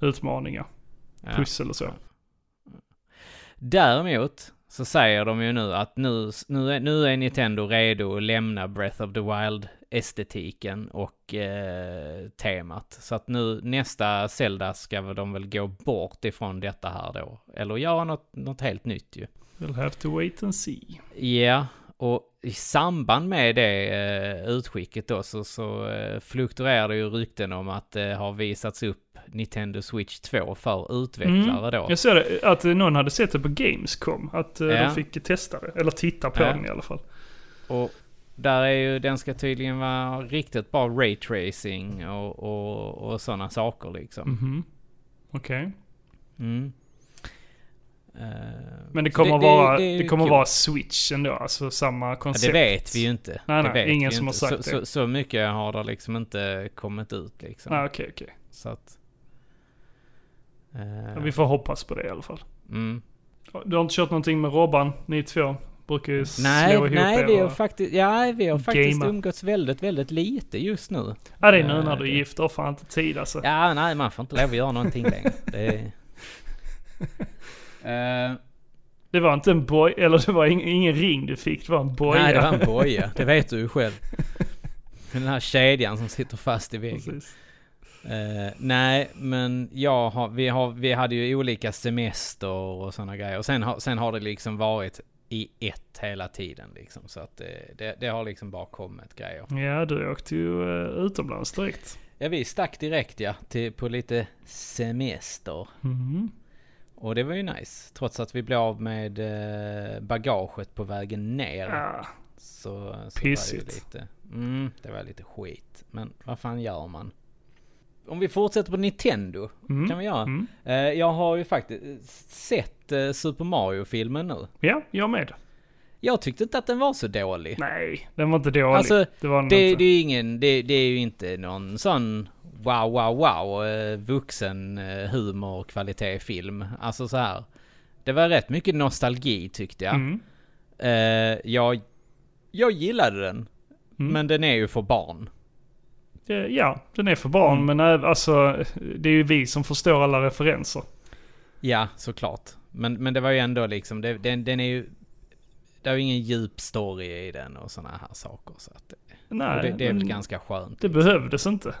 Speaker 2: utmaningar. Pussel och så.
Speaker 1: Däremot så säger de ju nu att nu, nu, är, nu är Nintendo redo att lämna Breath of the Wild-estetiken och eh, temat. Så att nu nästa Zelda ska väl de väl gå bort ifrån detta här då. Eller göra något, något helt nytt ju.
Speaker 2: We'll have to wait and see.
Speaker 1: Ja, och i samband med det eh, utskicket då så, så eh, fluktuerar det ju rykten om att det har visats upp Nintendo Switch 2 för utvecklare då.
Speaker 2: Jag såg det, att eh, någon hade sett det på Gamescom. Att eh,
Speaker 1: Ja.
Speaker 2: de fick testa det. Eller titta på
Speaker 1: Ja.
Speaker 2: den i alla fall.
Speaker 1: Och där är ju, den ska tydligen vara riktigt bra raytracing och, och, och sådana saker liksom.
Speaker 2: Mm. Okej.
Speaker 1: Mm. Eh,
Speaker 2: Men det
Speaker 1: så
Speaker 2: kommer, vara,
Speaker 1: är
Speaker 2: det,
Speaker 1: ju
Speaker 2: kommer
Speaker 1: kul.
Speaker 2: vara Switch ändå. Alltså samma
Speaker 1: Ja,
Speaker 2: koncept.
Speaker 1: det vet vi ju inte.
Speaker 2: Nej,
Speaker 1: Det
Speaker 2: nej,
Speaker 1: vet
Speaker 2: ingen
Speaker 1: vi
Speaker 2: som
Speaker 1: inte.
Speaker 2: har sagt
Speaker 1: så,
Speaker 2: det.
Speaker 1: Så, så mycket har det liksom inte kommit ut liksom.
Speaker 2: Nej, okej, okej.
Speaker 1: Så att... eh,
Speaker 2: Vi får hoppas på det i alla fall.
Speaker 1: mm.
Speaker 2: Du har inte kört någonting med Robban, ni två? Brukar ju
Speaker 1: Nej,
Speaker 2: slå ihop
Speaker 1: nej,
Speaker 2: er
Speaker 1: vi har
Speaker 2: och-
Speaker 1: faktiskt, ja, vi har faktiskt
Speaker 2: Gamea.
Speaker 1: umgåtts väldigt, väldigt lite just nu.
Speaker 2: Ja, det är nu när du
Speaker 1: det-
Speaker 2: är gift. Du har fan inte tid alltså.
Speaker 1: Ja, nej, man får inte lov att göra någonting längre. Det är... Eh,
Speaker 2: Det var inte en boj, eller det var ing, ingen ring du fick, det var en boja.
Speaker 1: nej, det var en boja. Det vet du ju själv. Den här kedjan som sitter fast i väggen.
Speaker 2: Precis.
Speaker 1: Eh, nej, men jag har, vi, har, vi hade ju olika semester och sådana grejer. Och sen har, sen har det liksom varit i ett hela tiden liksom. Så att det, det, det har liksom bara kommit grejer.
Speaker 2: Ja, du åkte ju eh, utomlands direkt.
Speaker 1: Ja, vi stack direkt ja, till, på lite semester. Och det var ju nice, trots att vi blev av med eh, bagaget på vägen ner.
Speaker 2: Ja,
Speaker 1: Så, så var det
Speaker 2: Pissigt.
Speaker 1: ju lite... Mm, det var lite skit. Men vad fan gör man? Om vi fortsätter på Nintendo, kan vi göra. Eh, jag har ju faktiskt eh, sett eh, Super Mario-filmen nu.
Speaker 2: ja jag med.
Speaker 1: Jag tyckte inte att den var så dålig.
Speaker 2: Nej, den var inte dålig.
Speaker 1: Alltså,
Speaker 2: det var den
Speaker 1: det,
Speaker 2: inte.
Speaker 1: det, är ju ingen, det, det är ju inte någon sån wow, wow, wow eh, vuxen eh, humor, kvalitet, film. Alltså så här. Det var rätt mycket nostalgi tyckte jag.
Speaker 2: Mm.
Speaker 1: Eh, jag, jag gillade den.
Speaker 2: Mm.
Speaker 1: Men den är ju för barn.
Speaker 2: Eh, Ja, den är för barn,
Speaker 1: Mm.
Speaker 2: men även, alltså, det är ju vi som förstår alla referenser.
Speaker 1: Ja, såklart. Men, men det var ju ändå liksom, det, den, den är ju... Det är ju ingen djup story i den och sådana här saker. Så att, och
Speaker 2: Nej,
Speaker 1: det, det är
Speaker 2: men
Speaker 1: väl ganska skönt.
Speaker 2: det behövdes inte.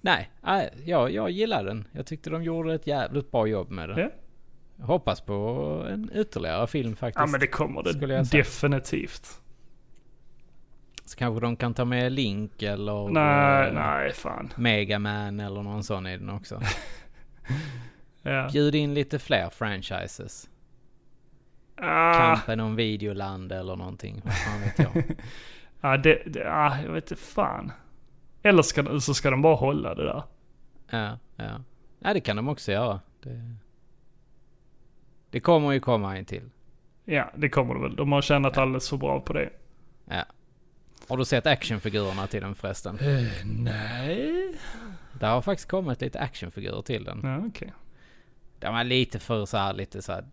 Speaker 1: Nej, nej, jag, jag gillar den. Jag tyckte de gjorde ett jävligt bra jobb med den.
Speaker 2: Ja,
Speaker 1: Jag hoppas på en ytterligare film faktiskt.
Speaker 2: ja men det kommer
Speaker 1: Skulle jag
Speaker 2: det
Speaker 1: säga.
Speaker 2: definitivt.
Speaker 1: Så kanske de kan ta med Link eller
Speaker 2: Nej,
Speaker 1: eh,
Speaker 2: nej, fan.
Speaker 1: Mega Man eller någon sån i den också.
Speaker 2: Ja.
Speaker 1: Bjud in lite fler franchises.
Speaker 2: Ah,
Speaker 1: Kampen om Videoland eller någonting. Vad fan vet jag.
Speaker 2: ja, det, det, ah, jag vet inte fan. Eller ska, så ska de bara hålla det där.
Speaker 1: ja, ja. Nej, det kan de också göra. Det, det kommer ju komma en till.
Speaker 2: Ja, det kommer det väl. De har tjänat alldeles för bra på det.
Speaker 1: Ja. Har du sett actionfigurerna till den förresten?
Speaker 2: Eh. Nej.
Speaker 1: Det har faktiskt kommit lite actionfigurer till den.
Speaker 2: Ja, okej.
Speaker 1: De var lite för så här, lite så här,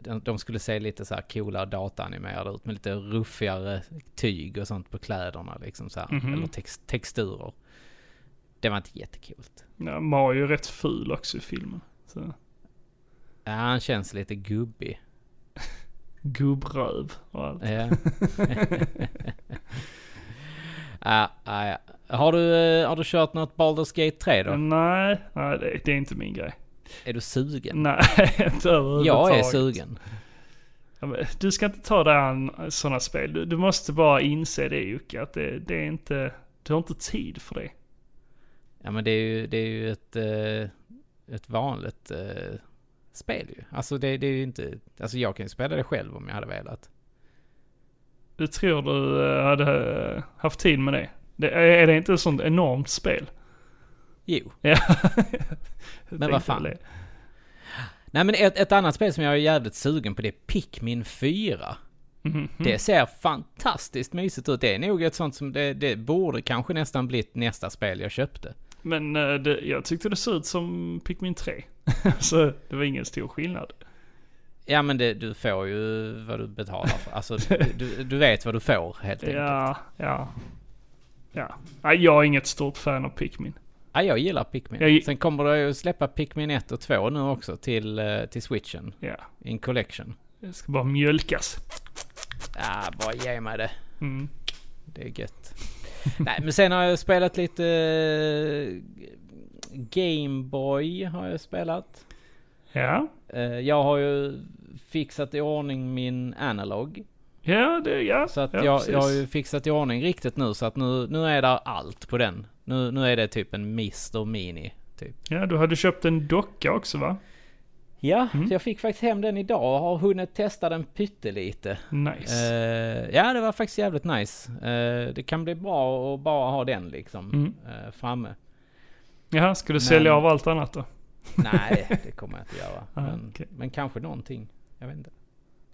Speaker 1: de, de skulle se lite så här coola dataanimerade ut med lite ruffigare tyg och sånt på kläderna liksom så här, eller tex, texturer. Det var inte jättekult.
Speaker 2: Ja, Mario är rätt ful också i filmen. Så.
Speaker 1: Ja, han känns lite gubbig.
Speaker 2: Gubbröv och allt.
Speaker 1: Ja. Ja, ja, ja. Har du, eh, har du kört något Baldur's Gate 3 då?
Speaker 2: Mm. Nej, nej det, det är inte min grej.
Speaker 1: Är du sugen?
Speaker 2: Nej, inte överhuvudtaget.
Speaker 1: Jag är sugen.
Speaker 2: Ja, men Du ska inte ta dig an sådana spel. Du, du måste bara inse det Jocke, att det, det är inte... Du har inte tid för det.
Speaker 1: Ja men det är ju, det är ju ett, eh, ett vanligt eh, spel ju. Alltså det, det är ju inte, alltså jag kan ju spela det själv om jag hade velat.
Speaker 2: Du tror du eh, hade eh, haft tid med det. det är är det inte ett sånt enormt spel?
Speaker 1: Jo.
Speaker 2: Ja.
Speaker 1: vad fan. Nej men ett, ett annat spel som jag är jävligt sugen på det är Pikmin 4. Det ser fantastiskt mysigt ut. Det är nog ett sånt som det, det borde kanske nästan blivit nästa spel jag köpte.
Speaker 2: Men eh, det, jag tyckte det såg ut som Pikmin 3. Så det var ingen stor skillnad.
Speaker 1: Ja men det, du får ju vad du betalar för. Alltså du- du, du vet vad du får helt enkelt. Ja.
Speaker 2: Ja, ja. Ja. Nej, jag är inget stort fan av Pikmin.
Speaker 1: jag gillar Pikmin.
Speaker 2: Jag gi-
Speaker 1: Sen kommer det ju släppa Pikmin 1 och 2 nu också till, eh, till switchen.
Speaker 2: Ja.
Speaker 1: In collection.
Speaker 2: Det ska bara mjölkas. Mm.
Speaker 1: Ja, bara ge mig det. Det är gött. Nej, men sen har jag spelat lite Gameboy har jag spelat.
Speaker 2: Ja.
Speaker 1: Eh, Jag har ju fixat i ordning min analog.
Speaker 2: Ja, det, ja.
Speaker 1: Så att
Speaker 2: ja,
Speaker 1: jag,
Speaker 2: precis.
Speaker 1: jag har ju fixat i ordning riktigt nu så att nu, nu är där allt på den. Nu, nu är det typ en Mr Mini. Typ.
Speaker 2: Ja, du hade köpt en docka också va?
Speaker 1: Ja, så jag fick faktiskt hem den idag och har hunnit testa den pyttelite.
Speaker 2: Nice.
Speaker 1: Eh, ja, det var faktiskt jävligt nice. Eh, det kan bli bra att bara ha den liksom
Speaker 2: Mm.
Speaker 1: eh, framme.
Speaker 2: Jaha, ska du sälja
Speaker 1: men-
Speaker 2: av allt annat då?
Speaker 1: Nej, det kommer jag inte göra. Men,
Speaker 2: Ah, okej.
Speaker 1: men kanske någonting. Jag vet inte.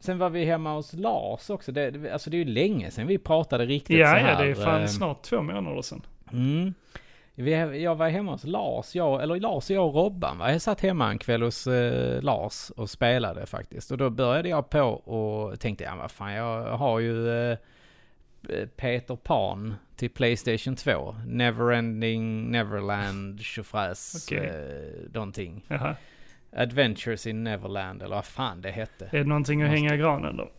Speaker 1: Sen var vi hemma hos Lars också. Det, det, alltså det är ju länge sedan vi pratade riktigt så
Speaker 2: Ja,
Speaker 1: här.
Speaker 2: ja, det är fan
Speaker 1: eh,
Speaker 2: snart två månader sedan.
Speaker 1: Mm. Vi, jag var hemma hos Lars, jag, eller Lars och jag och Robban va? Jag satt hemma en kväll hos eh, Lars och spelade faktiskt. Och då började jag på och tänkte, ja vad fan jag har ju eh, Peter Pan till Playstation 2. Neverending, Neverland, tjofräs,
Speaker 2: Okej.
Speaker 1: eh, någonting.
Speaker 2: Jaha.
Speaker 1: Adventures in Neverland, eller vad fan det hette.
Speaker 2: Är det någonting att hänga i granen då?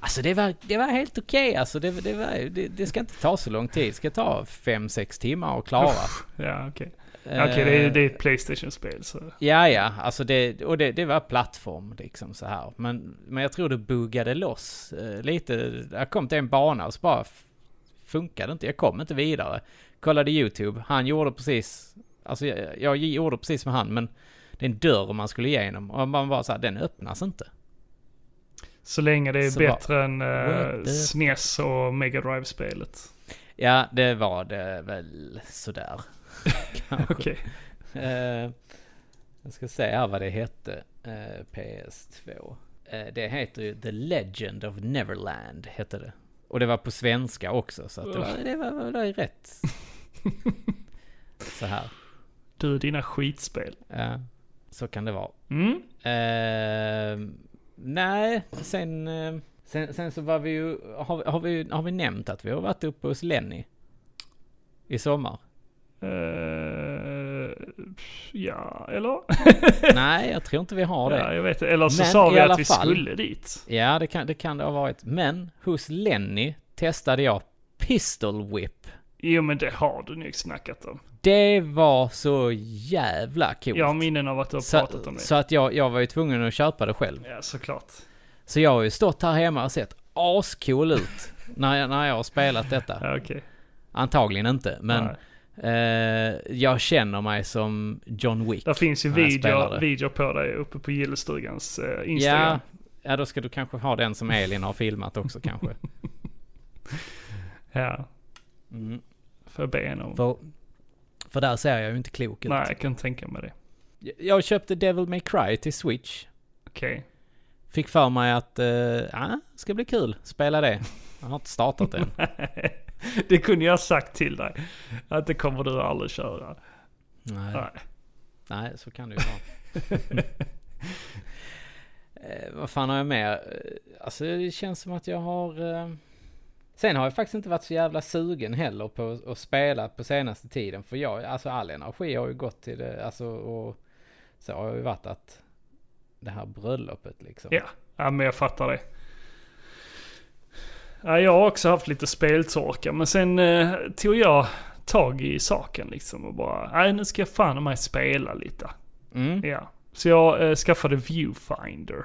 Speaker 1: Alltså det var, det var helt okej alltså. Det, det, var, det, det ska inte ta så lång tid. Det ska ta 5-6 timmar att klara.
Speaker 2: Ja, okej.
Speaker 1: Eh,
Speaker 2: Okej, det, är- det är ett Playstation-spel så...
Speaker 1: Ja, ja, alltså det, och det, det var plattform liksom så här. Men, men jag tror det buggade loss eh, lite. Jag kom till en bana och så bara f- funkade inte. Jag kom inte vidare. Kollade YouTube. Han gjorde precis, alltså jag, jag gjorde precis som han, men det är en dörr man skulle igenom och man bara så här, den öppnas inte.
Speaker 2: Så länge det är
Speaker 1: Så
Speaker 2: bättre än
Speaker 1: What
Speaker 2: uh,
Speaker 1: the-
Speaker 2: SNES och Mega Drive-spelet.
Speaker 1: Ja, det var det väl sådär. Kanske.
Speaker 2: Okej.
Speaker 1: Eh, jag ska se här vad det hette. Eh, PS2. Eh, det heter ju The Legend of Neverland, hette det. Och det var på svenska också, så att det, var, det, var, det var ju rätt. så här.
Speaker 2: Du, dina skitspel.
Speaker 1: Ja, så kan det vara.
Speaker 2: Mm.
Speaker 1: Eh, nej, sen, eh, sen, sen så var vi ju, har, har, vi, har vi nämnt att vi har varit uppe hos Lenny? I sommar?
Speaker 2: Eh, ja, eller?
Speaker 1: Nej, jag tror inte vi har det.
Speaker 2: Ja, jag vet Eller så
Speaker 1: Men
Speaker 2: sa
Speaker 1: i
Speaker 2: vi
Speaker 1: alla
Speaker 2: att vi
Speaker 1: fall-
Speaker 2: skulle dit.
Speaker 1: Ja, det kan, det kan det ha varit. Men hos Lenny testade jag Pistol Whip.
Speaker 2: Jo, men det har du nog snackat om.
Speaker 1: Det var så jävla coolt.
Speaker 2: Jag har minnen av att du har
Speaker 1: så,
Speaker 2: pratat om det.
Speaker 1: så att jag, jag var ju tvungen att köpa det själv.
Speaker 2: Ja, såklart.
Speaker 1: Så jag har ju stått här hemma och sett ascool ut när, jag, när jag har spelat detta.
Speaker 2: Ja, okej.
Speaker 1: Antagligen inte, men eh, jag känner mig som John Wick.
Speaker 2: Där finns ju
Speaker 1: när jag spelar
Speaker 2: videor,
Speaker 1: det.
Speaker 2: videor på dig uppe på gillestugans eh,
Speaker 1: Ja,
Speaker 2: Instagram.
Speaker 1: ja, då ska du kanske ha den som Elin har filmat också kanske.
Speaker 2: Ja.
Speaker 1: Mm.
Speaker 2: Får jag be henne om.
Speaker 1: För, för där ser jag ju inte klok ut.
Speaker 2: Nej, jag kan tänka mig det.
Speaker 1: Jag- Jag köpte Devil May Cry till Switch.
Speaker 2: Okej.
Speaker 1: Fick för mig att, eh, ja, ska bli kul. Spela det. Jag har inte startat än.
Speaker 2: Det kunde jag ha sagt till dig. Att det kommer du aldrig köra.
Speaker 1: Nej,
Speaker 2: Nej.
Speaker 1: nej så kan det ju vara. eh, vad fan har jag mer? Eh, Alltså det känns som att jag har... Eh... Sen har jag faktiskt inte varit så jävla sugen heller på att- att spela på senaste tiden. För jag, alltså all energi har ju gått till det, alltså och så har jag ju varit att det här bröllopet liksom.
Speaker 2: Ja. ja, men jag fattar det. Ja, jag har också haft lite speltorka, men sen eh, tog jag tag i saken liksom och bara, nej nu ska jag fan mig spela lite.
Speaker 1: Mm.
Speaker 2: Ja. Så jag eh, skaffade Viewfinder.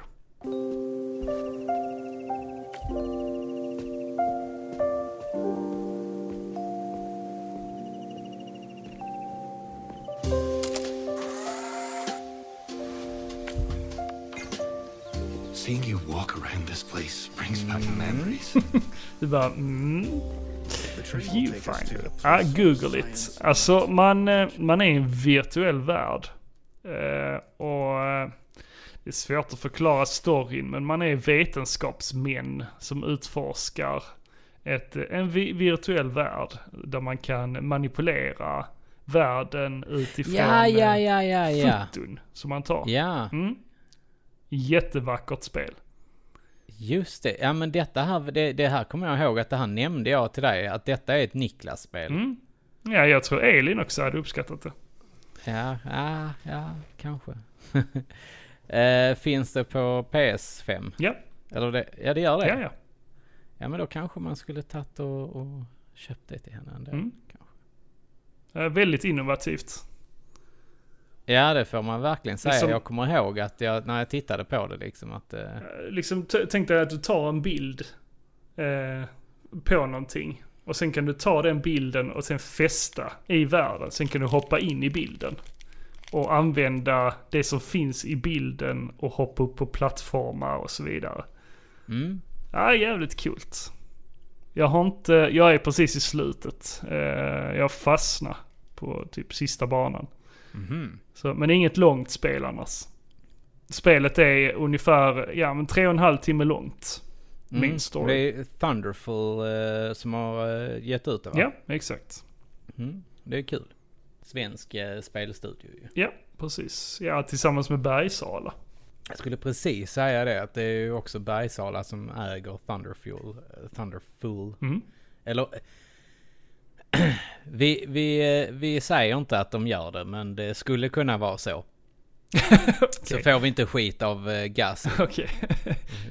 Speaker 5: Seeing you walk around this place brings back memories.
Speaker 2: Du bara, mm, Viewfinder. Ja, google it. Alltså, man, eh, man är i en virtuell värld. Eh, och eh, det är svårt att förklara storyn, men man är vetenskapsmän som utforskar ett, en vi- virtuell värld där man kan manipulera världen utifrån
Speaker 1: Ja, ja,
Speaker 2: eh,
Speaker 1: ja, ja, ja.
Speaker 2: foton som man tar.
Speaker 1: Ja,
Speaker 2: Mm. Jättevackert spel.
Speaker 1: just det. Ja men detta här, det, det här kommer jag ihåg att det här nämnde jag till dig, att detta är ett Niklas-spel.
Speaker 2: Mm. Ja, jag tror Elin också hade uppskattat det.
Speaker 1: Ja, ja, ja, kanske. Eh, finns det på PS5?
Speaker 2: Ja,
Speaker 1: Eller det, ja det gör det?
Speaker 2: ja, ja.
Speaker 1: Ja, men då kanske man skulle tagit och, och köpt det till henne ändå.
Speaker 2: Mm.
Speaker 1: kanske.
Speaker 2: Eh, väldigt innovativt.
Speaker 1: Ja det får man verkligen säga.
Speaker 2: Liksom-
Speaker 1: Jag kommer ihåg att jag, när jag tittade på det liksom att... eh,
Speaker 2: liksom t- tänk dig att du tar en bild eh, på någonting. Och sen kan du ta den bilden och sen fästa i världen. Sen kan du hoppa in i bilden. Och använda det som finns i bilden och hoppa upp på plattformar och så vidare.
Speaker 1: Mm.
Speaker 2: Ja, jävligt coolt. Jag har inte, jag är precis i slutet. Eh, jag fastnar på typ sista banan.
Speaker 1: Mhm.
Speaker 2: Så, men det är inget långt spel annars. Spelet är ungefär, ja men tre och en halv timme långt. Min
Speaker 1: Mm. Det
Speaker 2: story.
Speaker 1: är Thunderful eh, som har eh, gett ut det va?
Speaker 2: Ja, exakt.
Speaker 1: Det är kul. Svensk eh, spelstudio ju.
Speaker 2: Ja, precis. Ja, tillsammans med Bergsala.
Speaker 1: Jag skulle precis säga det, att det är ju också Bergsala som äger Thunderfuel. eh, Thunderfuel.
Speaker 2: Mm.
Speaker 1: Eller... Vi, vi, eh, vi säger inte att de gör det, men det skulle kunna vara så. Så får vi inte skit av eh, gas.
Speaker 2: Okej.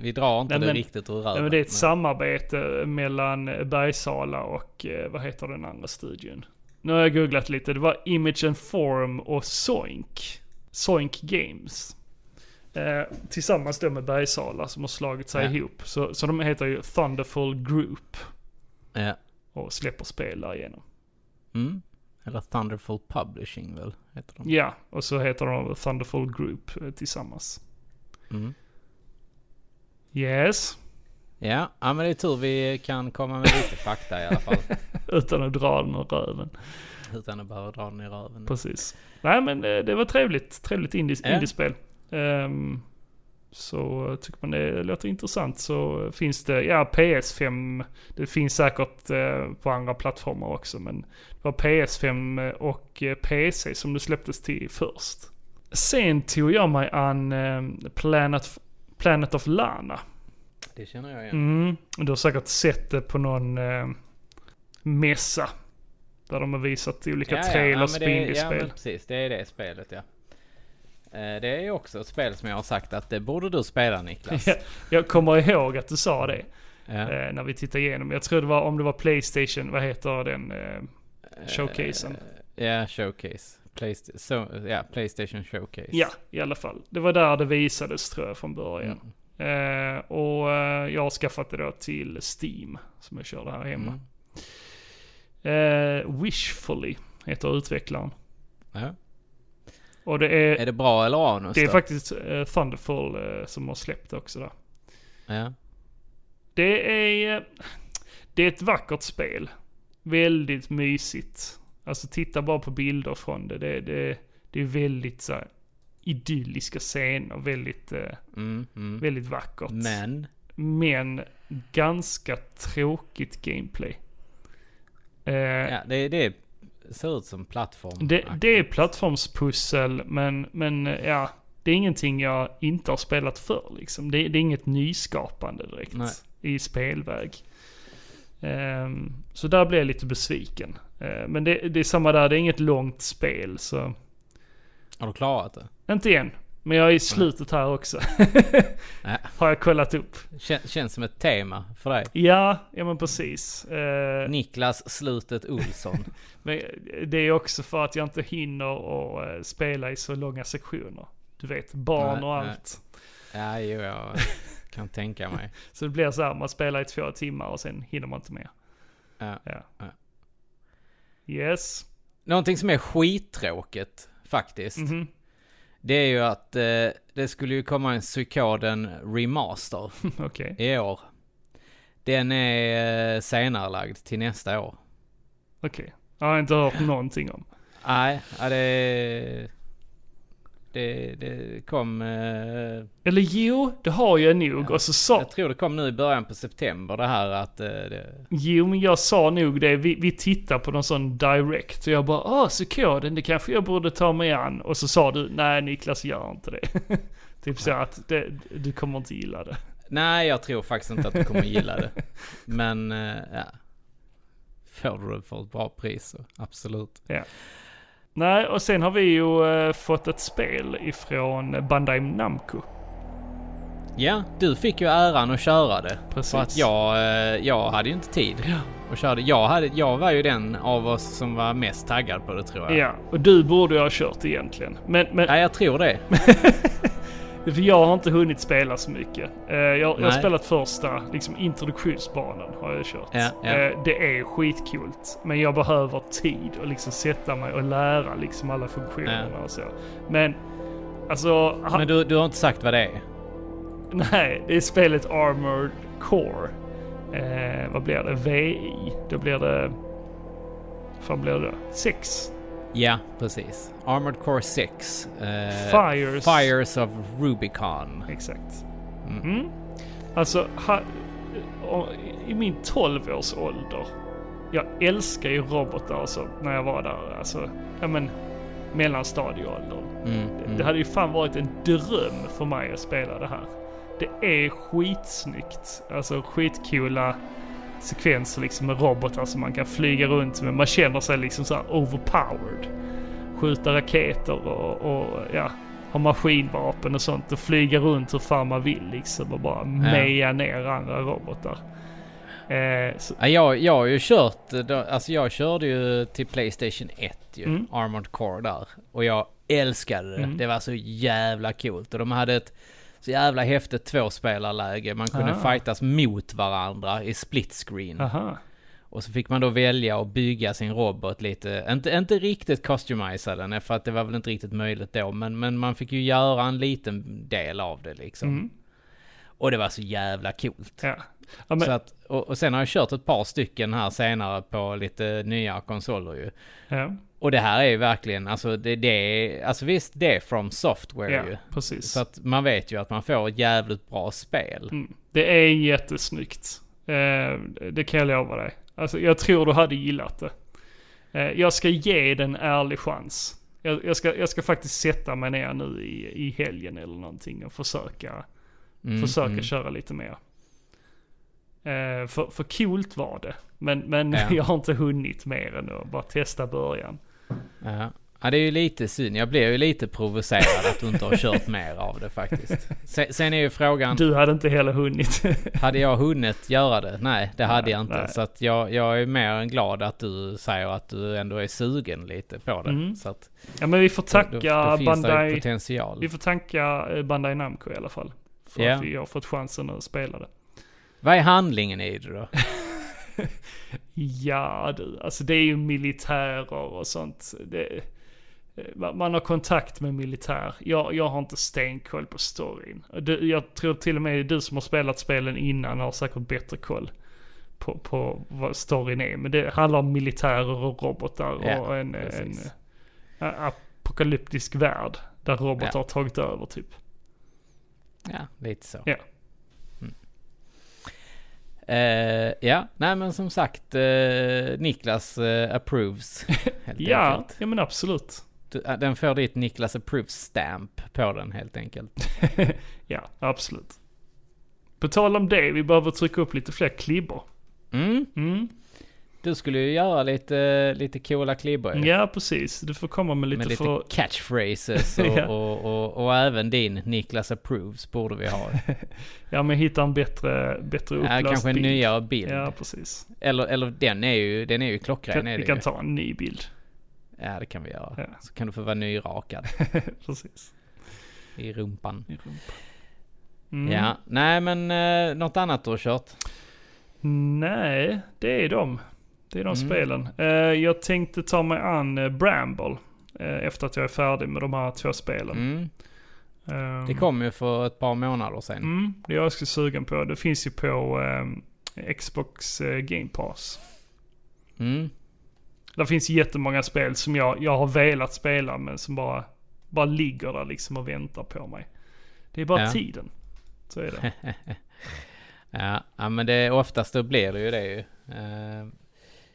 Speaker 1: Vi drar inte
Speaker 2: Nej,
Speaker 1: det
Speaker 2: men-
Speaker 1: riktigt ur
Speaker 2: Nej,
Speaker 1: röven.
Speaker 2: men det är ett samarbete mellan Bergsala och eh, vad heter den andra studion? Nu har jag googlat lite. Det var Image and Form och Soink. Soink Games. Eh, tillsammans då med Bergsala som har slagit sig
Speaker 1: Ja.
Speaker 2: ihop. Så, så de heter ju Thunderful Group
Speaker 1: Ja.
Speaker 2: och släpper spel därigenom.
Speaker 1: Mm. Eller Thunderful Publishing väl, heter de.
Speaker 2: Ja, och så heter de Thunderful Group eh, tillsammans.
Speaker 1: Mm.
Speaker 2: Yes,
Speaker 1: Ja, ja men det är tur vi kan komma med lite fakta i alla fall.
Speaker 2: utan att dra den ur röven.
Speaker 1: Utan att behöva dra den i röven.
Speaker 2: Precis. Nej men eh, det var trevligt. Trevligt indies,
Speaker 1: Ja.
Speaker 2: indiespel. Ehm, så tycker man det låter intressant så finns det, ja PS5, det finns säkert eh, på andra plattformar också men det var PS5 och eh, PC som det släpptes till först. Sen tog jag mig an eh, Planet, Planet of Lana.
Speaker 1: Det känner jag igen.
Speaker 2: Mm, du har säkert sett det på någon eh, mässa. Där de har visat olika trailers
Speaker 1: men
Speaker 2: på
Speaker 1: det- Ja,
Speaker 2: indiespel.
Speaker 1: men precis. Det är det spelet, ja. Eh, Det är ju också ett spel som jag har sagt att det borde du spela Niklas.
Speaker 2: Ja, jag kommer ihåg att du sa det
Speaker 1: Ja.
Speaker 2: eh, när vi tittade igenom. Jag tror det var om det var Playstation, vad heter den eh, showcasen?
Speaker 1: Ja, showcase. Playst- so, ja, Playstation Showcase.
Speaker 2: Ja, i alla fall. Det var där det visades tror jag från början.
Speaker 1: Mm.
Speaker 2: Eh, och eh, jag har skaffat det då till Steam som jag körde här hemma.
Speaker 1: Mm.
Speaker 2: Eh, Wishfully heter utvecklaren.
Speaker 1: Ja.
Speaker 2: Och det är,
Speaker 1: Är det bra eller anus
Speaker 2: det är
Speaker 1: då?
Speaker 2: faktiskt eh, Thunderfall eh, som har släppt det också där.
Speaker 1: Ja.
Speaker 2: Det är... eh, Det är ett vackert spel. Väldigt mysigt. Alltså titta bara på bilder från det. Det, det, det är väldigt så här, idylliska scener. Väldigt, eh,
Speaker 1: Mm, mm.
Speaker 2: väldigt vackert.
Speaker 1: Men.
Speaker 2: Men ganska tråkigt gameplay. Eh,
Speaker 1: Ja, det, det ser ut som plattform.
Speaker 2: det, det är plattformspussel, men, men eh, ja. Det är ingenting jag inte har spelat för liksom. Det, det är inget nyskapande direkt
Speaker 1: Nej.
Speaker 2: i spelväg. Ehm, så där blev jag lite besviken. Eh, men det, det är samma där, det är inget långt spel så...
Speaker 1: Har du klarat det?
Speaker 2: Inte än. Men jag är i slutet här också.
Speaker 1: Nej.
Speaker 2: har jag kollat upp.
Speaker 1: Kän, känns som ett tema för dig.
Speaker 2: Ja, ja men precis. Eh,
Speaker 1: Niklas Slutet Olsson.
Speaker 2: Men det är också för att jag inte hinner och eh, spela i så långa sektioner. Du vet, barn
Speaker 1: Nej,
Speaker 2: och
Speaker 1: nej.
Speaker 2: allt.
Speaker 1: ja, jo, jag kan tänka mig.
Speaker 2: Så det blir så här, man spelar i två timmar och sen hinner man inte mer.
Speaker 1: Ja.
Speaker 2: Ja.
Speaker 1: Ja.
Speaker 2: Yes.
Speaker 1: Någonting som är skittråkigt faktiskt. Det är ju att eh, det skulle ju komma en Psykoden Remaster
Speaker 2: Okej.
Speaker 1: i år. Den är eh, senarelagd till nästa år.
Speaker 2: Okej. Jag har inte hört någonting om.
Speaker 1: Nej, ja, det, det... Det kom... Eh,
Speaker 2: Eller jo, det har jag nog. Och så sa...
Speaker 1: jag tror det kom nu i början på september det här att... Eh, det,
Speaker 2: Jo, men jag sa nog det. Vi, vi tittar på någon sån direct. Och jag bara, ah, så koden, det kanske jag borde ta mig an. Och så sa du, nej Niklas, gör inte det. typ så att det, du kommer inte gilla det.
Speaker 1: nej, jag tror faktiskt inte att du kommer gilla det. Men, eh, ja. Får du det för ett bra pris så absolut.
Speaker 2: Ja. Nej, och sen har vi ju eh, fått ett spel ifrån Bandai Namco.
Speaker 1: Ja, du fick ju äran att köra det.
Speaker 2: Precis.
Speaker 1: För att jag, eh, jag hade ju inte tid och körde. Jag, hade, jag var ju den av oss som var mest taggad på det tror jag.
Speaker 2: Ja, och du borde ju ha kört egentligen. Men, men
Speaker 1: Ja, jag tror det.
Speaker 2: för jag har inte hunnit spela så mycket. Eh, jag, jag har
Speaker 1: Nej.
Speaker 2: spelat första, liksom introduktionsbanan har jag kört.
Speaker 1: Ja, ja.
Speaker 2: Eh, det är skitcoolt. Men jag behöver tid och liksom sätta mig och lära liksom alla funktionerna och så. Men, alltså... ha-
Speaker 1: Men du, du har inte sagt vad det är.
Speaker 2: Nej, det är spelet Armored Core. Eh, vad blir det? VI? Då blir det... Vad fan blir det då? Sex?
Speaker 1: Ja, precis. Armored Core 6. eh,
Speaker 2: Fires.
Speaker 1: Fires of Rubicon.
Speaker 2: Exakt. Mm. Alltså, ha, och, i min 12-årsålder. Jag älskar ju robotar och sånt när jag var där. Alltså, ja men mellanstadieåldern. Det- Det hade ju fan varit en dröm för mig att spela det här. Det är skitsnyggt. Alltså skitcoola sekvenser liksom med robotar som man kan flyga runt med. Man känner sig liksom så här overpowered. Skjuta raketer och, och ja, ha maskinvapen och sånt och flyga runt hur fan man vill liksom och bara meja ner andra robotar. Eh, så,
Speaker 1: Ja, jag, jag har ju kört, eh, då- alltså jag körde ju till Playstation 1 ju, Armored Core där. Och jag älskade det. Det var så jävla coolt. Och de hade ett så jävla häftigt tvåspelarläge. Man kunde fightas mot varandra i split screen.
Speaker 2: aha.
Speaker 1: Och så fick man då välja att bygga sin robot lite, inte, inte riktigt customisa den eh, för att det var väl inte riktigt möjligt då, men, men man fick ju göra en liten del av det liksom. Och det var så jävla coolt.
Speaker 2: Ja. Ja, men,
Speaker 1: Så att, och, och sen har jag kört ett par stycken här senare på lite nya konsoler ju.
Speaker 2: ja,
Speaker 1: Och det här är ju verkligen, alltså det, det är, alltså visst det är from software
Speaker 2: ja,
Speaker 1: ju.
Speaker 2: precis.
Speaker 1: Så att man vet ju att man får ett jävligt bra spel.
Speaker 2: Mm. Det är jättesnyggt. Eh, det kan jag lova dig. Alltså, jag tror du hade gillat det. Eh, jag ska ge den en ärlig chans. Jag, jag, ska, jag ska faktiskt sätta mig ner nu i, i helgen eller någonting och försöka,
Speaker 1: Mm,
Speaker 2: försöka köra lite mer. Eh, för, för coolt var det. Men, men
Speaker 1: Ja.
Speaker 2: jag har inte hunnit mer än att bara testa början.
Speaker 1: Ja. ja, det är ju lite synd. Jag blev ju lite provocerad att du inte har kört mer av det faktiskt. Se- Sen är ju frågan,
Speaker 2: Du hade inte heller hunnit.
Speaker 1: hade jag hunnit göra det? Nej, det hade jag inte.
Speaker 2: nej.
Speaker 1: Så att jag, jag är mer än glad att du säger att du ändå är sugen lite på det. Så att
Speaker 2: ja men vi får
Speaker 1: då,
Speaker 2: Mm. tacka
Speaker 1: då finns det ju
Speaker 2: Bandai.
Speaker 1: potential.
Speaker 2: Vi får tacka eh, Bandai Namco i alla fall. För
Speaker 1: Ja.
Speaker 2: att vi har fått chansen att spela det.
Speaker 1: Vad är handlingen i det då?
Speaker 2: Ja du, alltså det är ju militärer och sånt. Det, man man har kontakt med militär. Jag, jag har inte stenkoll på storyn. Du, jag tror till och med du som har spelat spelen innan har säkert bättre koll på, på vad storyn är. Men det handlar om militärer och robotar
Speaker 1: Ja,
Speaker 2: och en, en
Speaker 1: precis.
Speaker 2: eh, apokalyptisk värld där robotar
Speaker 1: Ja.
Speaker 2: har tagit över typ.
Speaker 1: Ja, lite så.
Speaker 2: Ja.
Speaker 1: Eh, ja, nej men som sagt, eh, Niklas eh, approves. Helt
Speaker 2: Ja,
Speaker 1: enkelt.
Speaker 2: ja men absolut.
Speaker 1: Du- äh, Den får ditt Niklas approves stamp på den helt enkelt.
Speaker 2: Ja, absolut. På tal om det, vi behöver trycka upp lite fler klibbor.
Speaker 1: Mm. Du skulle ju göra lite, lite coola klibbor ju.
Speaker 2: Ja, precis. Du får komma med lite,
Speaker 1: Med lite
Speaker 2: för...
Speaker 1: catchphrases och,
Speaker 2: Ja.
Speaker 1: och, och, och även din Niklas Approves borde vi ha.
Speaker 2: Ja, men hitta en bättre, bättre
Speaker 1: Ja,
Speaker 2: upplöst
Speaker 1: kanske en
Speaker 2: bild.
Speaker 1: nyare bild.
Speaker 2: Ja, precis.
Speaker 1: Eller, eller den är ju, den är ju klockren.
Speaker 2: Kan,
Speaker 1: är
Speaker 2: vi
Speaker 1: det
Speaker 2: kan
Speaker 1: ju.
Speaker 2: ta en ny bild.
Speaker 1: Ja, det kan vi göra.
Speaker 2: Ja.
Speaker 1: Så kan du få vara nyrakad
Speaker 2: Precis.
Speaker 1: i rumpan.
Speaker 2: I rumpan. Mm.
Speaker 1: Ja, nej men eh, något annat du har kört?
Speaker 2: Nej, det är de. Det är de
Speaker 1: Mm.
Speaker 2: spelen. Eh, jag tänkte ta mig an eh, Bramble. eh, efter att jag är färdig med de här två spelen.
Speaker 1: Mm.
Speaker 2: Ehm,
Speaker 1: Det kom ju för ett par månader sedan.
Speaker 2: Mm, det är jag också sugen på. Det finns ju på eh, Xbox eh, Game Pass.
Speaker 1: Mm.
Speaker 2: Det finns jättemånga spel som jag, jag har velat spela men som bara, bara ligger där liksom och väntar på mig. Det är bara
Speaker 1: Ja.
Speaker 2: tiden. Så är det.
Speaker 1: Ja, ja, men det, oftast då blir det ju det ju. Eh,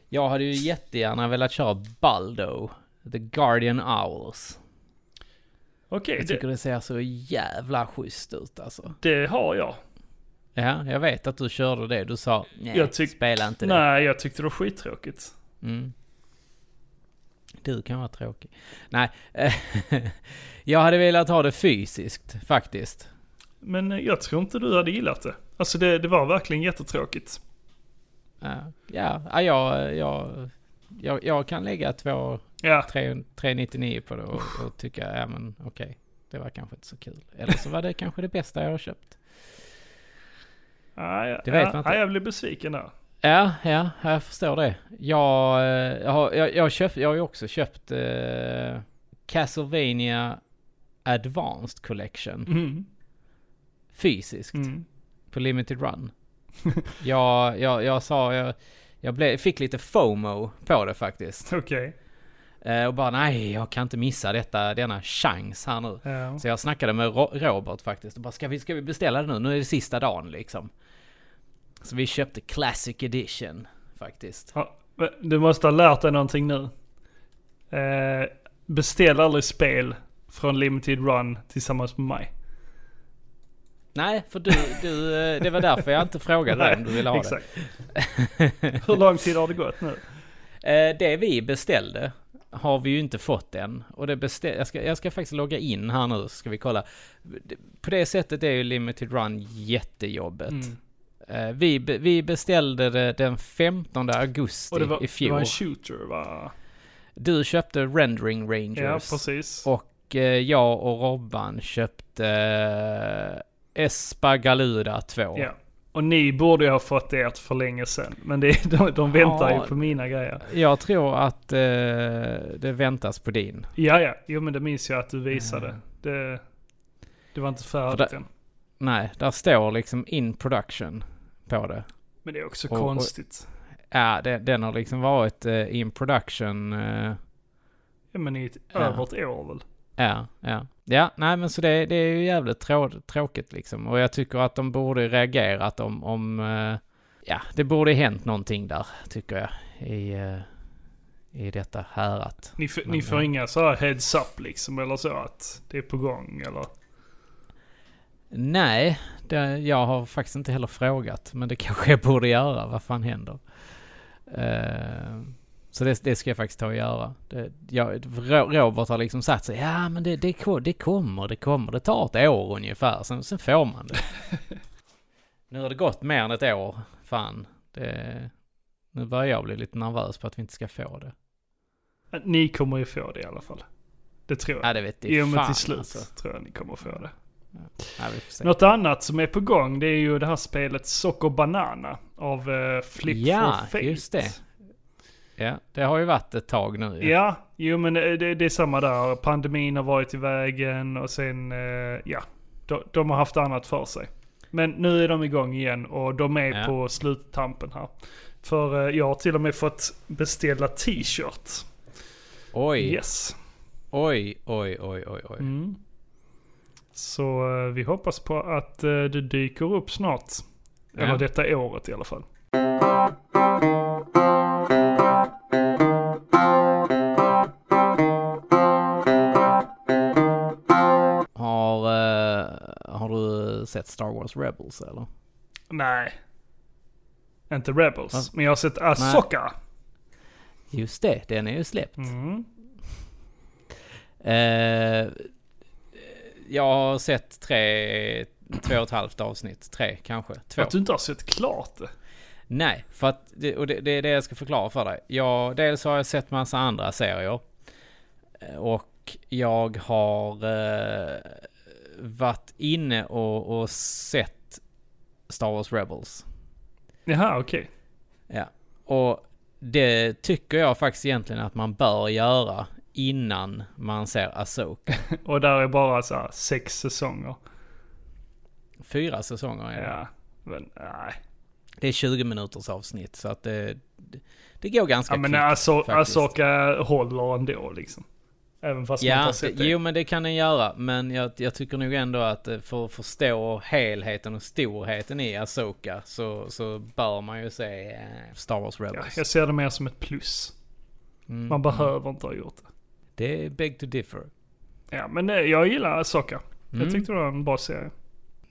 Speaker 1: jag hade ju jättegärna velat köra Baldo, The Guardian Owls.
Speaker 2: Okej,
Speaker 1: Jag tycker
Speaker 2: det,
Speaker 1: det ser så jävla schysst ut alltså.
Speaker 2: det har jag.
Speaker 1: Ja, jag vet att du körde det. Du sa nej,
Speaker 2: Jag tyck-
Speaker 1: spela inte det.
Speaker 2: Nej, jag tyckte det var skittråkigt.
Speaker 1: Du kan vara tråkig. Nej, eh, jag hade velat ha det fysiskt faktiskt.
Speaker 2: Men eh, jag tror inte du hade gillat det. Alltså det, det var verkligen jättetråkigt.
Speaker 1: Ja, Eh, ja, ja, jag, jag, jag, jag kan lägga två
Speaker 2: Ja,
Speaker 1: 3 399 på det och, och tycka, ja men okej, det var kanske inte så kul. Eller så var det kanske det bästa jag har köpt.
Speaker 2: nej,
Speaker 1: Det vet
Speaker 2: Ah, ja,
Speaker 1: man inte.
Speaker 2: nej, jag blev besviken där.
Speaker 1: Ja, ja, jag förstår det. Jag, eh, jag, har- jag, jag, köpt, jag har ju också köpt eh, Castlevania Advanced Collection
Speaker 2: Mm.
Speaker 1: fysiskt
Speaker 2: Mm.
Speaker 1: på Limited Run. jag, jag, jag sa, jag, jag blev, fick lite FOMO på det faktiskt.
Speaker 2: Okej.
Speaker 1: Eh, och bara nej, jag kan inte missa detta, denna chans här nu.
Speaker 2: Ja.
Speaker 1: Så jag snackade med Ro- Robert faktiskt och bara ska vi, ska vi beställa det nu? Nu är det sista dagen liksom. Så vi köpte Classic Edition faktiskt.
Speaker 2: Ja, men Du måste ha lärt dig någonting nu. Eh, beställ aldrig spel från Limited Run tillsammans med mig.
Speaker 1: Nej, för du, du, eh, det var därför jag inte frågade dig om du ville ha det.
Speaker 2: Exakt. Hur lång tid har det gått nu?
Speaker 1: Eh, Det vi beställde har vi ju inte fått än. Och det bestä- jag, ska, jag ska faktiskt logga in här nu
Speaker 2: Mm.
Speaker 1: så ska vi kolla. Det- På det sättet är ju Limited Run jättejobbigt. Eh, vi, be- vi beställde det den 15 augusti
Speaker 2: Och det var,
Speaker 1: i
Speaker 2: det var
Speaker 1: fjol.
Speaker 2: en shooter va?
Speaker 1: Du köpte Rendering Rangers.
Speaker 2: Ja, precis.
Speaker 1: Och eh, jag och Robban köpte eh, Espagaluda 2.
Speaker 2: Ja. Och ni borde ju ha fått ert för länge sedan. Men det, de, de väntar
Speaker 1: Ja.
Speaker 2: ju på mina grejer.
Speaker 1: Jag tror att eh, det väntas på din.
Speaker 2: Ja, ja. Jo, men det minns jag att du visade. Det, det var inte färdigt
Speaker 1: Mm. För
Speaker 2: än.
Speaker 1: Nej, där står liksom in production på det.
Speaker 2: Men det är också
Speaker 1: Och- och-
Speaker 2: konstigt.
Speaker 1: Ja, det, den har liksom varit eh, in production. eh,
Speaker 2: Ja, men i ett,
Speaker 1: Ja.
Speaker 2: över ett år väl?
Speaker 1: Ja, ja. Ja, nej men så det, det är ju jävligt trå, tråkigt liksom. Och jag tycker att de borde ju reagerat om, om eh, ja, det borde ju hänt någonting där, tycker jag, i, eh, i detta härat.
Speaker 2: Ni, f- ni
Speaker 1: Men,
Speaker 2: får
Speaker 1: ja.
Speaker 2: inga så här heads up liksom eller så att det är på gång eller?
Speaker 1: Nej, det, jag har faktiskt inte heller frågat, men det kanske jag borde göra. Vad fan händer? Eh, så det, det ska jag faktiskt ta och göra. Det, jag, Ro- Robert har liksom sagt så ja men det, det, ko- det kommer, det kommer. Det tar ett år ungefär, sen, sen får man det. nu har det gått mer än ett år, fan. Det, nu börjar jag bli lite nervös på att vi inte ska få det.
Speaker 2: Eh, Ni kommer ju få det i alla fall. Det tror jag.
Speaker 1: Ja, det vet jag
Speaker 2: Jo men
Speaker 1: fan,
Speaker 2: till slut
Speaker 1: alltså.
Speaker 2: tror jag ni kommer få det.
Speaker 1: Ja, vi får se.
Speaker 2: Något annat som är på gång det är ju det här spelet Soccer Banana av eh, Flip
Speaker 1: Ja,
Speaker 2: for Fate.
Speaker 1: just det. Ja, det har ju varit ett tag nu ju.
Speaker 2: Ja, jo men eh, det, det är samma där. Pandemin har varit i vägen och sen, eh, ja. De, de har haft annat för sig. Men nu är de igång igen och de är
Speaker 1: Ja.
Speaker 2: på sluttampen här. För eh, jag har till och med fått beställa t-shirt.
Speaker 1: Oj.
Speaker 2: Yes.
Speaker 1: Oj, oj, oj, oj, oj.
Speaker 2: Så eh, vi hoppas på att eh, det dyker upp snart.
Speaker 1: Ja.
Speaker 2: Eller detta året i alla fall.
Speaker 1: Har, eh, har du sett Star Wars Rebels eller?
Speaker 2: Nej. Inte Rebels.
Speaker 1: Vad?
Speaker 2: Men jag har sett Asoka.
Speaker 1: Just det, den är ju släppt.
Speaker 2: Mm.
Speaker 1: Eh, jag har sett tre, två och ett halvt avsnitt. Tre kanske, två.
Speaker 2: Att du inte har sett klart det.
Speaker 1: Nej, för att, det- och det, det är det jag ska förklara för dig. Jag, dels har jag sett massa andra serier. eh, Och jag har eh, varit inne och, och sett Star Wars Rebels.
Speaker 2: Jaha, okej.
Speaker 1: Ja, och det tycker jag faktiskt egentligen att man bör göra innan man ser Asoka.
Speaker 2: Och där är bara så här, sex säsonger.
Speaker 1: Fyra säsonger är det.
Speaker 2: Ja. Men nej.
Speaker 1: Det är 20 minuters avsnitt så att det, det går ganska
Speaker 2: Ja, men
Speaker 1: kvickt.
Speaker 2: Aso-
Speaker 1: faktiskt.
Speaker 2: Asoka håller ändå liksom. Även fast man inte
Speaker 1: Ja,
Speaker 2: har sett det.
Speaker 1: jo men det kan den göra. Men jag, jag tycker nog ändå att eh, för att förstå helheten och storheten i Asoka så, så bör man ju se eh, Star Wars
Speaker 2: Ja,
Speaker 1: Rebels.
Speaker 2: jag ser det mer som ett plus.
Speaker 1: Mm.
Speaker 2: Man behöver inte ha gjort det.
Speaker 1: Det är big to differ.
Speaker 2: Ja, men eh, jag gillar Asoka.
Speaker 1: Mm.
Speaker 2: Jag tyckte det var en bra serie.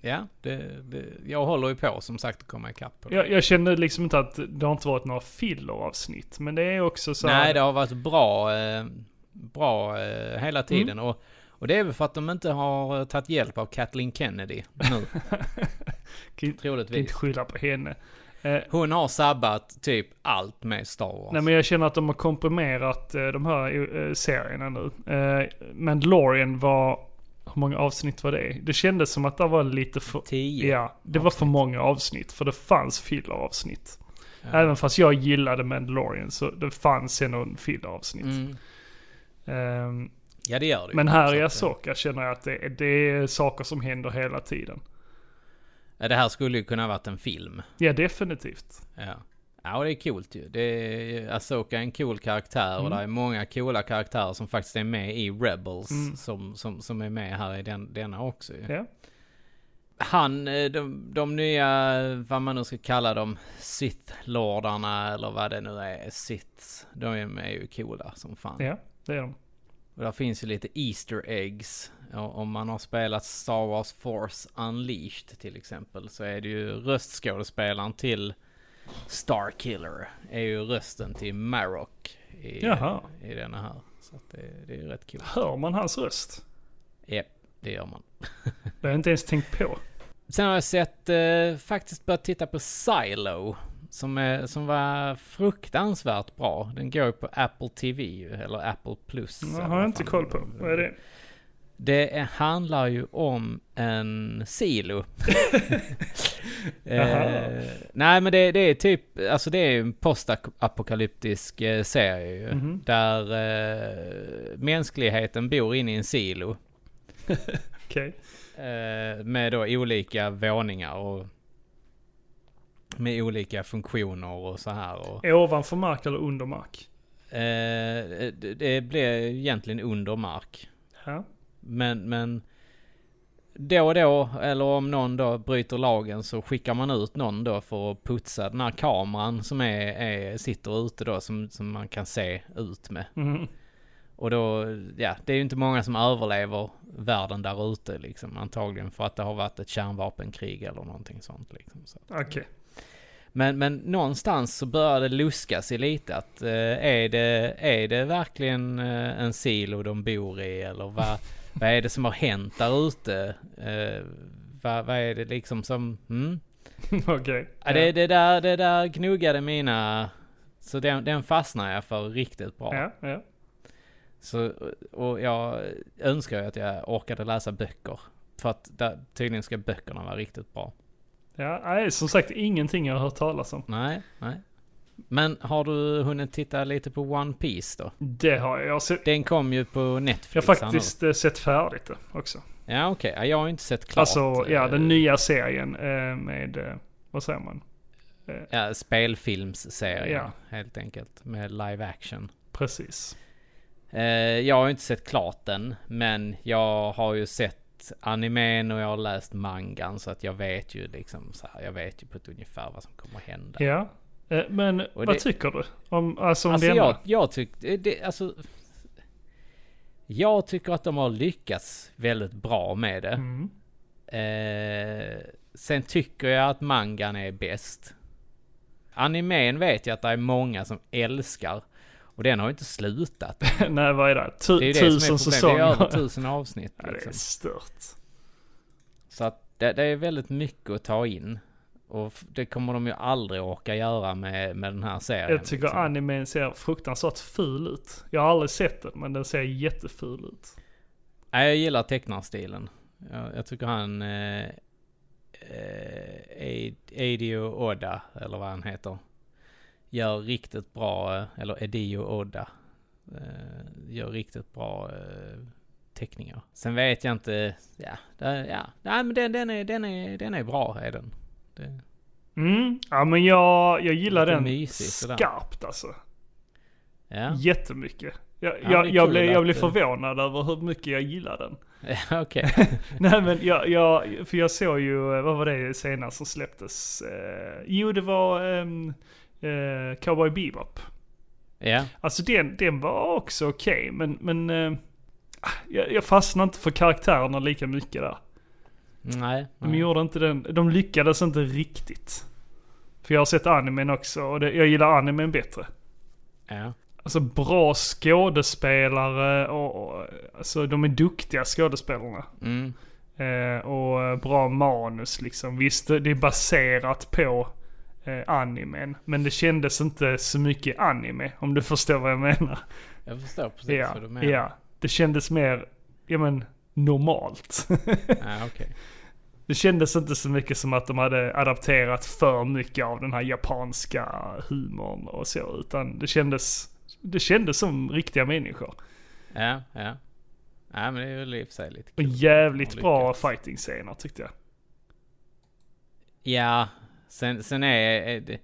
Speaker 1: Ja, det, det, jag håller ju på som sagt att komma ikapp på det.
Speaker 2: Jag, jag kände liksom inte att det har inte varit några filleravsnitt. Men det är också så här-
Speaker 1: Nej, det har varit bra, eh, bra eh, hela
Speaker 2: Mm.
Speaker 1: tiden. Och, och det är väl för att de inte har eh, tagit hjälp av Kathleen Kennedy nu,
Speaker 2: kan, kan inte
Speaker 1: troligtvis.
Speaker 2: skylla på henne.
Speaker 1: Hon har sabbat typ allt med Star Wars.
Speaker 2: Nej men jag känner att de har komprimerat eh, de här eh, serierna nu. Eh, Mandalorian var... Hur många avsnitt var det? Det kändes som att det var lite för...
Speaker 1: Tio
Speaker 2: Ja, det var för många avsnitt. För det fanns filleravsnitt. Även fast jag gillade Mandalorian så det fanns ändå en filleravsnitt. Ehm,
Speaker 1: Ja, det gör Mm. det ju.
Speaker 2: men här
Speaker 1: Så att,
Speaker 2: i
Speaker 1: eh,
Speaker 2: Asoka känner jag att det, är- det är saker som händer hela tiden.
Speaker 1: Ja, det här skulle ju kunna ha varit en film.
Speaker 2: Ja, definitivt.
Speaker 1: Ja. Ja, och det är coolt ju. Det är, Asoka är en cool karaktär och
Speaker 2: Mm.
Speaker 1: det är många coola karaktärer som faktiskt är med i Rebels.
Speaker 2: Mm.
Speaker 1: Som, som, som är med här i den, denna också ju.
Speaker 2: Ja.
Speaker 1: han, eh, de, de nya, vad man nu ska kalla dem, Sith-lordarna eller vad det nu är, Siths. De är, är ju coola som fan.
Speaker 2: ja, det är de.
Speaker 1: Och där finns ju lite Easter eggs. Och om man har spelat Star Wars Force Unleashed till exempel så är det ju röstskådespelaren till Starkiller är ju rösten till Marok i,
Speaker 2: Jaha.
Speaker 1: i denna här. Så att det, det är ju rätt kul.
Speaker 2: Hör man hans röst?
Speaker 1: Japp, det gör man.
Speaker 2: Det har jag inte ens tänkt på.
Speaker 1: Sen har jag sett, eh, faktiskt börjat titta på Silo. Som, är, som var fruktansvärt bra. Den går ju på Apple TV ju, eller Apple Plus.
Speaker 2: Det
Speaker 1: eller
Speaker 2: har
Speaker 1: vad
Speaker 2: jag inte
Speaker 1: fan
Speaker 2: koll på. Vad är det?
Speaker 1: Det är- handlar ju om en silo.
Speaker 2: Jaha.
Speaker 1: eh, nej men det, det är typ, alltså det är ju en postapokalyptisk eh, serie ju,
Speaker 2: Mhm.
Speaker 1: Där eh, mänskligheten bor inne i en silo.
Speaker 2: Okej.
Speaker 1: Eh, med då olika våningar och med olika funktioner och så här. Och,
Speaker 2: Ovanför mark eller under mark?
Speaker 1: eh, det, det blir egentligen under mark.
Speaker 2: Ja.
Speaker 1: Men, men då och då, eller om någon då bryter lagen så skickar man ut någon då för att putsa den här kameran som är, är, sitter ute då som, som man kan se ut med.
Speaker 2: Mhm.
Speaker 1: Och då, ja, det är ju inte många som överlever världen där ute liksom antagligen för att det har varit ett kärnvapenkrig eller någonting sånt liksom. Så.
Speaker 2: Okej.
Speaker 1: Men, men någonstans så börjar det luska sig lite att eh, är, det, är det verkligen eh, en silo de bor i eller vad, vad är det som har hänt där ute? Eh, vad, vad är det liksom som... Mm?
Speaker 2: Okej.
Speaker 1: Ja. Det, det, där, det där gnuggade mina... Så den, den fastnar jag för riktigt bra.
Speaker 2: Ja, ja.
Speaker 1: Så, och jag önskar ju att jag orkade läsa böcker. För att där, tydligen ska böckerna vara riktigt bra.
Speaker 2: Ja, nej, som sagt ingenting jag har hört talas om.
Speaker 1: Nej, nej. Men har du hunnit titta lite på One Piece då?
Speaker 2: Det har jag. Jag har, se-
Speaker 1: Den kom ju på
Speaker 2: jag har
Speaker 1: Netflix.
Speaker 2: faktiskt eh, sett färdigt det också.
Speaker 1: här nu. Ja okej, Ja, jag har inte sett klart.
Speaker 2: Alltså, ja,
Speaker 1: eh,
Speaker 2: den nya serien eh, med, eh, vad säger man?
Speaker 1: ja, spelfilmsserien
Speaker 2: Ja.
Speaker 1: helt enkelt. Med live action.
Speaker 2: Precis.
Speaker 1: Eh, jag har inte sett klart den. Men jag har ju sett animen och jag har läst mangan. Så att jag vet ju liksom så här, Jag vet ju på ett ungefär vad som kommer hända.
Speaker 2: Ja. Eh, men vad
Speaker 1: det-
Speaker 2: tycker du? Om, alltså om
Speaker 1: Alltså
Speaker 2: denna?
Speaker 1: jag, jag tyckte, det, alltså... Jag tycker att de har lyckats väldigt bra med det.
Speaker 2: Mm.
Speaker 1: Eh, sen tycker jag att mangan är bäst. Animen vet jag att det är många som älskar. Och den har ju inte slutat.
Speaker 2: Nej, vad är det? Tu-
Speaker 1: Det är ju det som är
Speaker 2: tusen
Speaker 1: problemet. Det är över
Speaker 2: säsonger.
Speaker 1: tusen avsnitt.
Speaker 2: Ja, det är
Speaker 1: Liksom.
Speaker 2: stört.
Speaker 1: Så att det, det är väldigt mycket att ta in. Och f- det kommer de ju aldrig orka göra med, med den här serien.
Speaker 2: Jag tycker
Speaker 1: liksom.
Speaker 2: animen ser fruktansvärt ful ut. Jag har aldrig sett den, men den ser jätteful ut.
Speaker 1: Nej, jag gillar tecknarstilen. Jag, jag tycker han... Eh, eh, Edio Oda, eller vad han heter, gör riktigt bra, eh, eller Edio Oda, eh, gör riktigt bra eh, teckningar. Sen vet jag inte, ja, det, ja. Nej, men den, den, är, den, är, den är bra, är den. Det,
Speaker 2: Mm. Ja, men jag, jag gillar
Speaker 1: Lite
Speaker 2: den
Speaker 1: mysig, sådär.
Speaker 2: skarpt alltså.
Speaker 1: ja,
Speaker 2: Jättemycket. Jag,
Speaker 1: Ja, det
Speaker 2: jag,
Speaker 1: är
Speaker 2: jag,
Speaker 1: kul
Speaker 2: blev, jag blev
Speaker 1: att-
Speaker 2: förvånad över hur mycket jag gillar den.
Speaker 1: okej.
Speaker 2: Nej men jag, jag, för jag såg ju, eh, vad var det senast som släpptes? Eh, jo det var ehm, eh, Cowboy Bebop.
Speaker 1: Ja,
Speaker 2: Alltså den, den var också okej men, men eh, ah, jag, jag fastnade inte för karaktärerna lika mycket där.
Speaker 1: nej.
Speaker 2: De
Speaker 1: nej.
Speaker 2: gjorde inte den, de lyckades inte riktigt. För jag har sett animen också och det, jag gillar animen bättre.
Speaker 1: Ja.
Speaker 2: Alltså bra skådespelare och, och alltså de är duktiga skådespelarna.
Speaker 1: Mm.
Speaker 2: Eh, och eh, bra manus liksom. Visst, det det är baserat på eh, animen. Men det kändes inte så mycket anime, om du förstår vad jag menar.
Speaker 1: Jag förstår precis
Speaker 2: Ja,
Speaker 1: vad du menar.
Speaker 2: ja. Det kändes mer, ja men, normalt.
Speaker 1: Ja, okej.
Speaker 2: det kändes inte så mycket som att de hade adapterat för mycket av den här japanska humorn och så. Utan det kändes, det kändes som riktiga människor.
Speaker 1: Ja, ja. Nej, men det är väl i och för sig lite
Speaker 2: Och
Speaker 1: kul.
Speaker 2: jävligt
Speaker 1: De har
Speaker 2: bra
Speaker 1: lyckats.
Speaker 2: fighting-scener tyckte jag.
Speaker 1: Ja, sen, sen är, är det...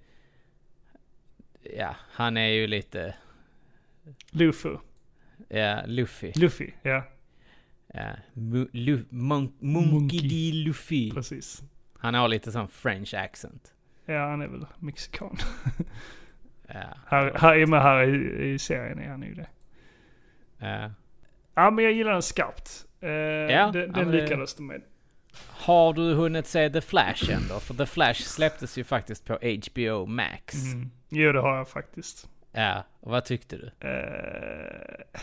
Speaker 1: Ja, han är ju lite...
Speaker 2: Luffy.
Speaker 1: Ja, Luffy.
Speaker 2: Luffy, ja.
Speaker 1: Ja, mu, lu, mon, monkey,
Speaker 2: Monkey.
Speaker 1: D. Luffy.
Speaker 2: Precis.
Speaker 1: Han har lite sån French accent.
Speaker 2: Ja, han är väl mexikan.
Speaker 1: Ja,
Speaker 2: Här, här, I och med här i, i serien är han ju det.
Speaker 1: ja.
Speaker 2: Ja, men jag gillar den skarpt. Eh,
Speaker 1: ja,
Speaker 2: den den
Speaker 1: men det-
Speaker 2: lyckades de med.
Speaker 1: Har du hunnit se The Flash än då? För The Flash släpptes ju faktiskt på HBO Max.
Speaker 2: Jo, det har jag faktiskt.
Speaker 1: Ja, och vad tyckte du?
Speaker 2: Eh,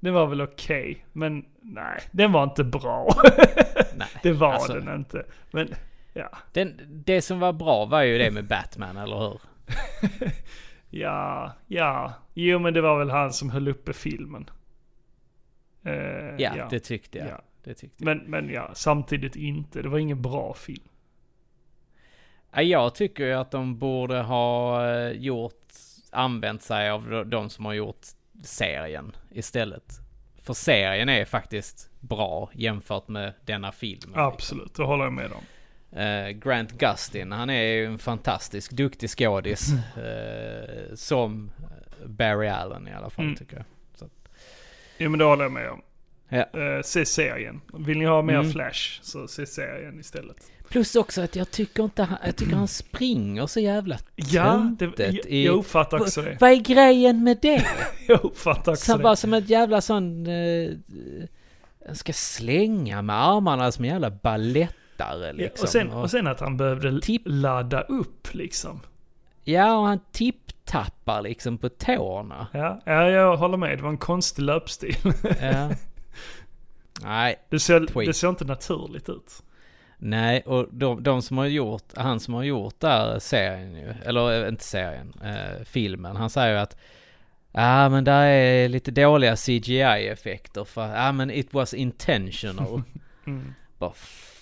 Speaker 2: Den var väl okej, men nej, den var inte bra.
Speaker 1: Nej,
Speaker 2: det var
Speaker 1: alltså,
Speaker 2: den inte. Men ja,
Speaker 1: Den, det som var bra var ju det med Batman, eller hur?
Speaker 2: ja, ja. Jo, men det var väl han som höll uppe filmen. Eh,
Speaker 1: Ja, det tyckte jag.
Speaker 2: Ja.
Speaker 1: Det tyckte jag.
Speaker 2: Men, men ja, samtidigt inte. Det var ingen bra film.
Speaker 1: Ja, Jag tycker ju att de borde ha eh, gjort, använt sig av de- de som har gjort serien istället. För serien är faktiskt bra jämfört med denna film.
Speaker 2: Absolut, det håller jag med om.
Speaker 1: Eh, Grant Gustin, han är ju en fantastisk, duktig skådis.
Speaker 2: Mm.
Speaker 1: eh, som Barry Allen i alla fall
Speaker 2: Mm.
Speaker 1: tycker jag. Så, att-
Speaker 2: Jo, men det håller jag med om.
Speaker 1: ja. Mm.
Speaker 2: Eh, se serien. Vill ni ha mer Flash, så se serien istället.
Speaker 1: Plus också att jag tycker inte han, jag tycker han springer så jävla
Speaker 2: Ja, det,
Speaker 1: töntigt
Speaker 2: jag,
Speaker 1: i-
Speaker 2: jag uppfattar också det.
Speaker 1: Vad är grejen med det?
Speaker 2: Jag uppfattar också
Speaker 1: Så
Speaker 2: det.
Speaker 1: bara som ett jävla sån... Eh, han ska slänga med armarna som en jävla ballettare
Speaker 2: Ja,
Speaker 1: liksom.
Speaker 2: och, sen, och sen att han behövde
Speaker 1: Tipp.
Speaker 2: ladda upp liksom.
Speaker 1: ja, och han tipptappar liksom på tårna.
Speaker 2: Ja, ja, jag håller med. Det var en konstig löpstil.
Speaker 1: Ja. Nej,
Speaker 2: Det ser,
Speaker 1: Tweet.
Speaker 2: det ser inte naturligt ut.
Speaker 1: nej, och de, de som har gjort, han som har gjort där serien ju, eller eh, inte serien, eh, filmen, han säger ju att Ja ah, men där är lite dåliga CGI-effekter för, ja ah, men it was intentional. Vad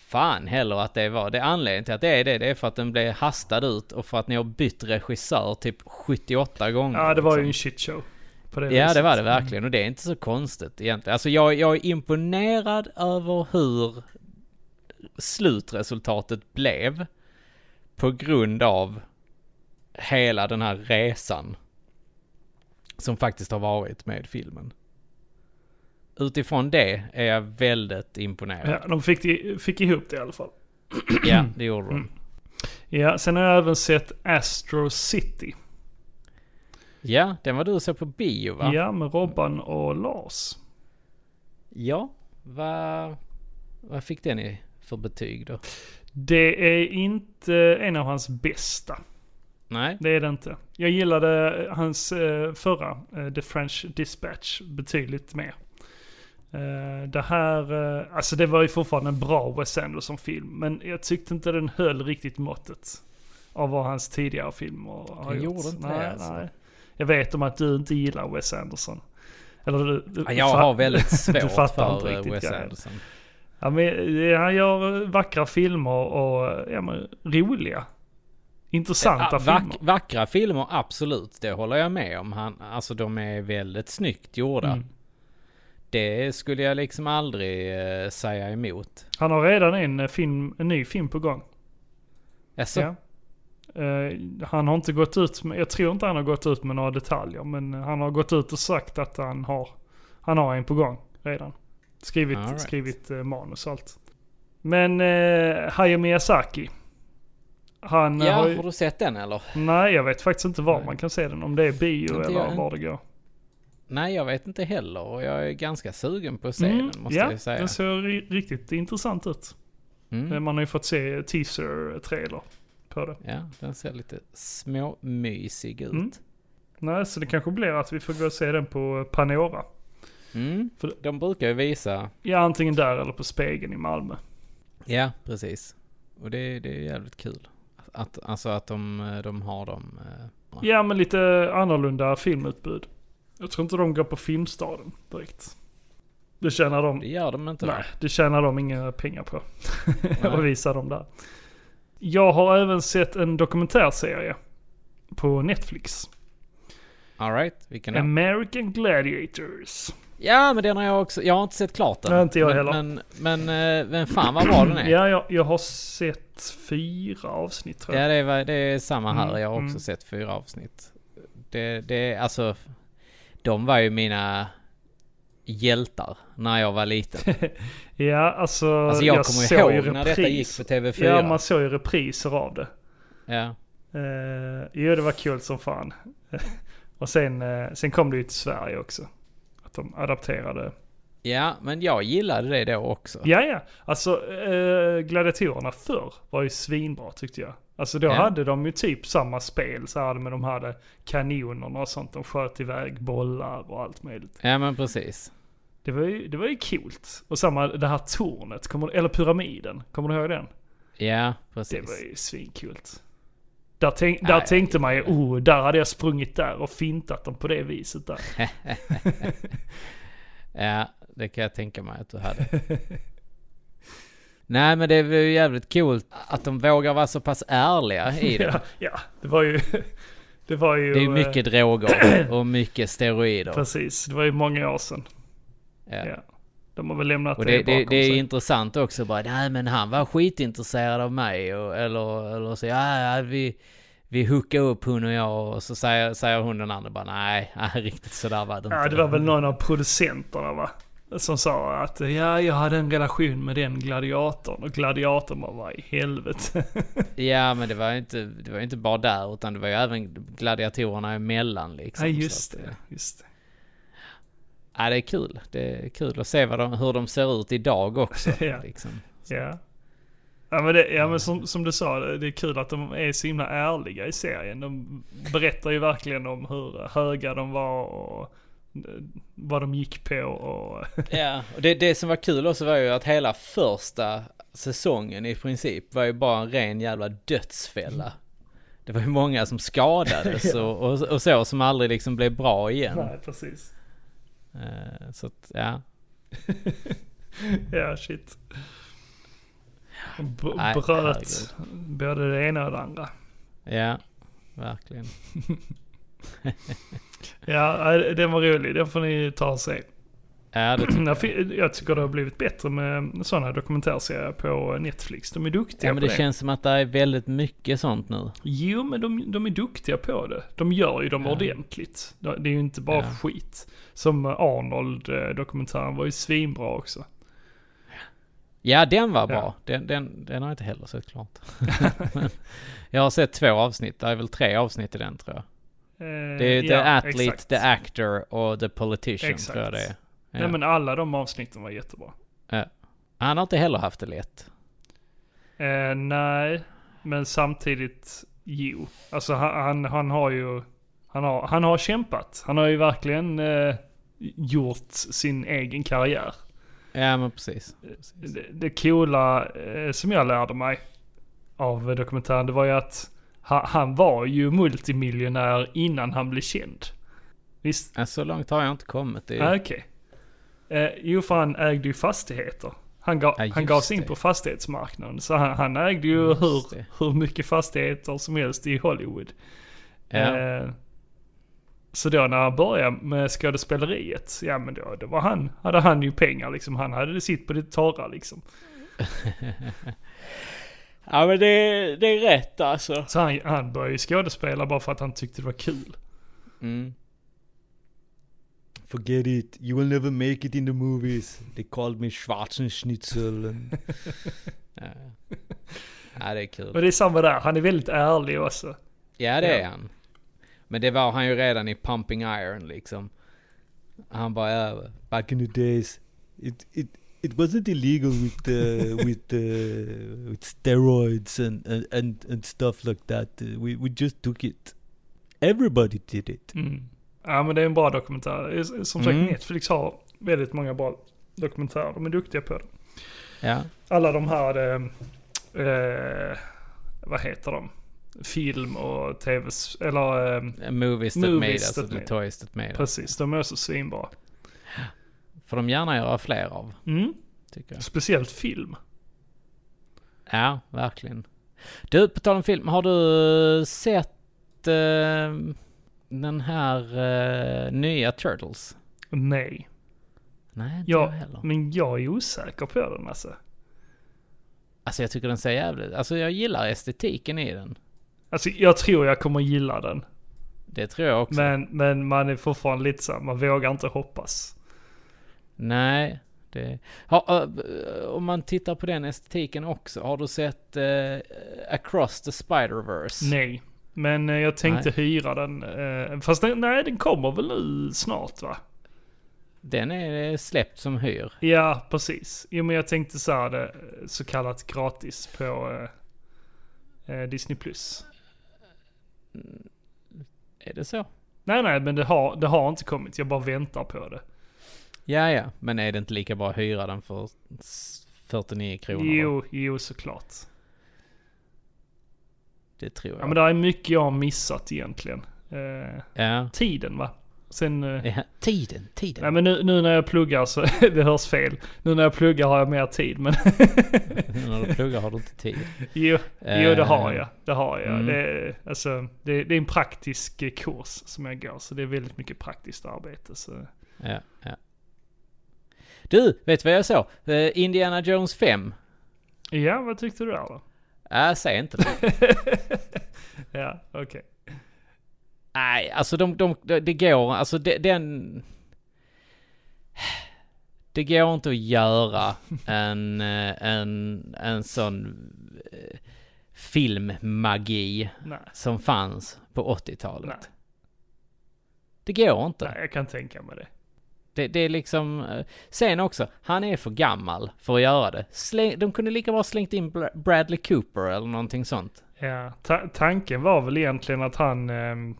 Speaker 1: fan heller att det var. Det anledningen till att det är det, det är för att den blev hastad ut och för att ni har bytt regissör typ 78 gånger.
Speaker 2: Ja, det var ju en
Speaker 1: liksom.
Speaker 2: shitshow. På det
Speaker 1: Ja
Speaker 2: viset.
Speaker 1: det var det verkligen och det är inte så konstigt egentligen. Alltså jag, jag är imponerad över hur slutresultatet blev. På grund av hela den här resan. Som faktiskt har varit med filmen. Utifrån det är jag väldigt imponerad.
Speaker 2: Ja, de fick, det- fick ihop det i alla fall.
Speaker 1: Ja, det gjorde de.
Speaker 2: Ja, sen har jag även sett Astro City.
Speaker 1: Ja, den var du såg på bio va?
Speaker 2: Ja, med Robban och Lars.
Speaker 1: Ja. Vad vad fick den i för betyg då?
Speaker 2: Det är inte en av hans bästa.
Speaker 1: Nej?
Speaker 2: Det är det inte. Jag gillade hans eh, förra, eh, The French Dispatch, betydligt mer. Eh, det här, eh, alltså det var ju fortfarande en bra Wes Anderson-film, men jag tyckte inte den höll riktigt måttet av vad hans tidigare filmer har
Speaker 1: Den
Speaker 2: gjort.
Speaker 1: gjorde inte det, alltså.
Speaker 2: Jag vet om att du inte gillar Wes Anderson. Eller du, du,
Speaker 1: Ja, Jag
Speaker 2: fa-
Speaker 1: har väldigt
Speaker 2: du
Speaker 1: svårt för
Speaker 2: fattar inte
Speaker 1: eh,
Speaker 2: riktigt,
Speaker 1: Wes
Speaker 2: ja.
Speaker 1: Anderson.
Speaker 2: Ja, men, ja, han gör eh, vackra filmer och ja, men, roliga. Intressanta
Speaker 1: Ah,
Speaker 2: filmer.
Speaker 1: vack, vackra filmer, absolut. Det håller jag med om. Han, alltså de är väldigt snyggt gjorda.
Speaker 2: Mm.
Speaker 1: Det skulle jag liksom aldrig eh, säga emot.
Speaker 2: Han har redan en, eh, film, en ny film på gång.
Speaker 1: Alltså,
Speaker 2: Ja. Eh, han har inte gått ut med, jag tror inte han har gått ut med några detaljer, men han har gått ut och sagt att han har, han har en på gång redan. Skrivit,
Speaker 1: All right.
Speaker 2: skrivit eh, manus och allt. Men eh, Hayao Miyazaki. Han eh,
Speaker 1: ja,
Speaker 2: har ju,
Speaker 1: har du sett den eller?
Speaker 2: Nej, jag vet faktiskt inte var man kan se den. Om det är bio
Speaker 1: Inte
Speaker 2: eller
Speaker 1: jag.
Speaker 2: var det går.
Speaker 1: Nej, jag vet inte heller. Och jag är ganska sugen på att se den, måste
Speaker 2: Mm, ja,
Speaker 1: jag säga. Mm.
Speaker 2: den ser ri- riktigt intressant ut. Eh, Man har ju fått se teaser-trailer på det.
Speaker 1: Ja, den ser lite småmysig ut.
Speaker 2: Mm. Nej, så det kanske blir att vi får gå och se den på Panora.
Speaker 1: Mm. De brukar ju visa...
Speaker 2: Ja, antingen där eller på Spegeln i Malmö.
Speaker 1: Ja, precis. Och det, det är jävligt kul. Att, alltså att de, eh, de har dem... eh,
Speaker 2: Ja, men lite annorlunda filmutbud. Jag tror inte de går på Filmstaden direkt. Det tjänar de,
Speaker 1: Det gör de inte va?
Speaker 2: nej, det tjänar de inga pengar på. Att visa dem där. Jag har även sett en dokumentärserie på Netflix.
Speaker 1: Alright, vilken då?
Speaker 2: American Gladiators.
Speaker 1: Ja, men den har jag också. Jag har inte sett klart den.
Speaker 2: Nej, inte jag
Speaker 1: men,
Speaker 2: heller.
Speaker 1: Men, men, eh, men fan vad bra den är.
Speaker 2: Ja, jag, jag har sett fyra avsnitt tror jag.
Speaker 1: Ja, det är, det är samma här.
Speaker 2: Mm,
Speaker 1: Jag har också
Speaker 2: mm.
Speaker 1: sett fyra avsnitt. Det, det, är- alltså, de var ju mina hjältar när jag var liten.
Speaker 2: Ja, alltså,
Speaker 1: Alltså jag, kommer
Speaker 2: såg ju
Speaker 1: ihåg när detta gick
Speaker 2: repris-
Speaker 1: på TV4.
Speaker 2: Ja, man såg ju repriser av det.
Speaker 1: ja.
Speaker 2: Uh, jo, det var kul som fan. Och sen, eh, sen kom det ju till Sverige också. Att de adapterade.
Speaker 1: ja, men jag gillade det då också.
Speaker 2: Ja, ja. Alltså uh, gladiatorerna förr var ju svinbra tyckte jag. Alltså då
Speaker 1: Ja.
Speaker 2: hade de ju typ samma spel så här, men de hade kanonerna och sånt. De sköt iväg bollar och allt möjligt.
Speaker 1: Ja, men precis.
Speaker 2: Det var ju, det var ju coolt. Och samma det här tornet, kommer, eller pyramiden, kommer du ihåg den?
Speaker 1: Ja,
Speaker 2: Det
Speaker 1: precis.
Speaker 2: var ju svinkult. Där, tänk, där
Speaker 1: Nej,
Speaker 2: tänkte man ju, oh, där hade jag sprungit där och fintat dem på det viset där.
Speaker 1: Ja, det kan jag tänka mig att du hade. Nej, men det är ju jävligt coolt att de vågar vara så pass ärliga i det.
Speaker 2: Ja, ja, det var ju... Det var ju...
Speaker 1: Det är ju
Speaker 2: eh,
Speaker 1: mycket droger och mycket steroider.
Speaker 2: Precis, det var ju många år sedan.
Speaker 1: Ja.
Speaker 2: Ja. De har väl lämnat
Speaker 1: Och
Speaker 2: det,
Speaker 1: det,
Speaker 2: bakom
Speaker 1: det, det är
Speaker 2: sig.
Speaker 1: intressant också bara, nej men han var skitintresserad av mig och, eller, eller så, ja, ja vi, vi hookade upp hon och jag och så säger, säger hon den andra bara, nej, nej riktigt sådär var det inte.
Speaker 2: Ja, det var väl någon av producenterna va? Som sa att ja, jag hade en relation med den gladiatorn. Och gladiatorn bara, vad i helvete?
Speaker 1: Ja men det var ju inte, det var ju inte bara där utan det var ju även gladiatorerna emellan liksom.
Speaker 2: Nej,
Speaker 1: Så
Speaker 2: just
Speaker 1: att,
Speaker 2: det. Just det.
Speaker 1: Ja det är kul. Det är kul att se vad de, hur de ser ut idag också.
Speaker 2: Ja.
Speaker 1: liksom.
Speaker 2: Ja. Ja men, det, ja, men som, som du sa, det det är kul att de är så himla ärliga i serien. De berättar ju verkligen om hur höga de var och eh, vad de gick på och...
Speaker 1: Ja, och det, det som var kul också var ju att hela första säsongen i princip var ju bara en ren jävla dödsfälla. Det var ju många som skadades och, och, och så som aldrig liksom blev bra igen.
Speaker 2: Nej, precis.
Speaker 1: Eh, Så att, ja.
Speaker 2: Ja, shit. B-
Speaker 1: Nej,
Speaker 2: bröt både det ena och det andra.
Speaker 1: Ja, verkligen.
Speaker 2: Ja, eh, den var rolig. Den får ni ta och se.
Speaker 1: Ja, det
Speaker 2: Jag fi- Jag tycker det har blivit bättre med sådana dokumentärserier på Netflix. De är duktiga
Speaker 1: ja, men
Speaker 2: på
Speaker 1: det känns som att det är väldigt mycket sånt nu.
Speaker 2: Jo, men de, de är duktiga på det. De gör ju dem ordentligt. Det det är ju inte bara skit. Som eh, Arnold-dokumentären var ju svinbra också.
Speaker 1: Ja, den var
Speaker 2: Ja.
Speaker 1: bra. Den, den, den har jag inte heller sett klart. Men jag har sett två avsnitt. Det är väl tre avsnitt i den tror jag.
Speaker 2: Eh,
Speaker 1: Det är The Athlete, The Actor och The Politician
Speaker 2: Exakt.
Speaker 1: tror jag det är. Ja.
Speaker 2: Nej, men alla de avsnitten var jättebra.
Speaker 1: Ja. Han har inte heller haft det lätt.
Speaker 2: Eh, nej, men samtidigt jo. Alltså han, han, han har ju... Han har, han har kämpat. Han har ju verkligen eh, gjort sin egen karriär.
Speaker 1: Ja men precis.
Speaker 2: det, det coola eh, som jag lärde mig av dokumentären det var ju att han, han var ju multimiljonär innan han blev känd. Visst?
Speaker 1: Ja, så långt har jag inte kommit. Det
Speaker 2: Ah,
Speaker 1: är,
Speaker 2: Okej. Eh, jo, för han ägde ju fastigheter. Han, gav,
Speaker 1: Ja, just
Speaker 2: han gav sig in
Speaker 1: det.
Speaker 2: på fastighetsmarknaden. Så han, han ägde ju hur,
Speaker 1: det.
Speaker 2: hur mycket fastigheter som helst i Hollywood.
Speaker 1: ja.
Speaker 2: Eh, så då när han började med skådespeleriet, ja men då, då var han, hade han ju pengar liksom. Han hade det sitt på det torra liksom.
Speaker 1: ja men det, det är rätt alltså.
Speaker 2: Så han, han började ju skådespela bara för att han tyckte det var kul.
Speaker 1: Mm.
Speaker 6: Forget it. You will never make it in the movies. They called me Schwarzenschnitzel. And...
Speaker 1: Ja, ja. ja det är
Speaker 2: Och
Speaker 1: kul.
Speaker 2: det är samma där, han är väldigt ärlig också.
Speaker 1: Ja det är han. Men det var han ju redan i Pumping Iron liksom. Han bara ja,
Speaker 6: Back in the days, it it it wasn't illegal with uh, with uh, with steroids and, and and and stuff like that. Uh, we we just took it. Everybody did it.
Speaker 2: Ja men det är en bra dokumentär. Som sagt
Speaker 1: Mm.
Speaker 2: Netflix har väldigt många bra dokumentärer. De är duktiga på det.
Speaker 1: ja.
Speaker 2: Alla de här, eh, eh, vad heter de? Film och tv, eller eh,
Speaker 1: Movies that
Speaker 2: Movies
Speaker 1: made us
Speaker 2: that
Speaker 1: och
Speaker 2: made-
Speaker 1: the toys that made us.
Speaker 2: precis, de är också svinbra.
Speaker 1: Får de gärna göra fler av.
Speaker 2: Mm.
Speaker 1: Tycker jag.
Speaker 2: Speciellt film.
Speaker 1: Ja, verkligen. Du, på tal om film, har du sett eh, den här eh, nya Turtles?
Speaker 2: Nej.
Speaker 1: Nej, inte jag
Speaker 2: Ja,
Speaker 1: heller.
Speaker 2: men jag är osäker på den alltså.
Speaker 1: Alltså jag tycker den ser jävligt... Alltså jag gillar estetiken i den.
Speaker 2: Alltså jag tror jag kommer gilla den.
Speaker 1: Det tror jag också.
Speaker 2: Men, men man är fortfarande lite såhär, man vågar inte hoppas.
Speaker 1: Nej. Det... Ha, ö, om man tittar på den estetiken också, har du sett eh, Across the Spider-Verse?
Speaker 2: Nej. Men eh, jag tänkte hyra den. eh, Fast den, nej, den kommer väl nu snart va?
Speaker 1: Den är eh, släppt som hyr.
Speaker 2: Ja, precis. Jo men jag tänkte så här, det, så kallat gratis på eh, eh, Disney+. Plus.
Speaker 1: Är det så?
Speaker 2: Nej, nej, men det har, det har inte kommit. Jag bara väntar på det.
Speaker 1: Ja, ja, men är det inte lika bra att hyra den för s- 49 kronor? då?
Speaker 2: Jo, jo såklart.
Speaker 1: Det tror jag.
Speaker 2: Ja men det är mycket jag har missat egentligen. Eh,
Speaker 1: Ja.
Speaker 2: tiden va? Sen... Eh,
Speaker 1: Ja, Tiden, tiden.
Speaker 2: Nej men nu, nu när jag pluggar så, det hörs fel. Nu när jag pluggar har jag mer tid men
Speaker 1: När du pluggar har du inte tid.
Speaker 2: jo, jo det har
Speaker 1: Eh.
Speaker 2: jag. Det har jag.
Speaker 1: Mm.
Speaker 2: Det, alltså, det, det är en praktisk eh, kurs som jag går så det är väldigt mycket praktiskt arbete. Så.
Speaker 1: Ja, ja. Du, vet du vad jag såg? Eh, Indiana Jones 5.
Speaker 2: Ja vad tyckte du där då?
Speaker 1: Äh, säg inte det.
Speaker 2: Ja okej.
Speaker 1: Nej, alltså de, de, det det går, alltså de, den... Det går inte att göra en, eh, en, en sån eh, filmmagi
Speaker 2: Nej.
Speaker 1: som fanns på 80-talet.
Speaker 2: Nej,
Speaker 1: Det går inte.
Speaker 2: nej jag kan tänka mig det.
Speaker 1: Det, det är liksom... eh, Sen också, han är för gammal för att göra det. Släng, de kunde lika bra slängt in Bra- Bradley Cooper eller någonting sånt.
Speaker 2: Ja, ta- tanken var väl egentligen att han, ehm,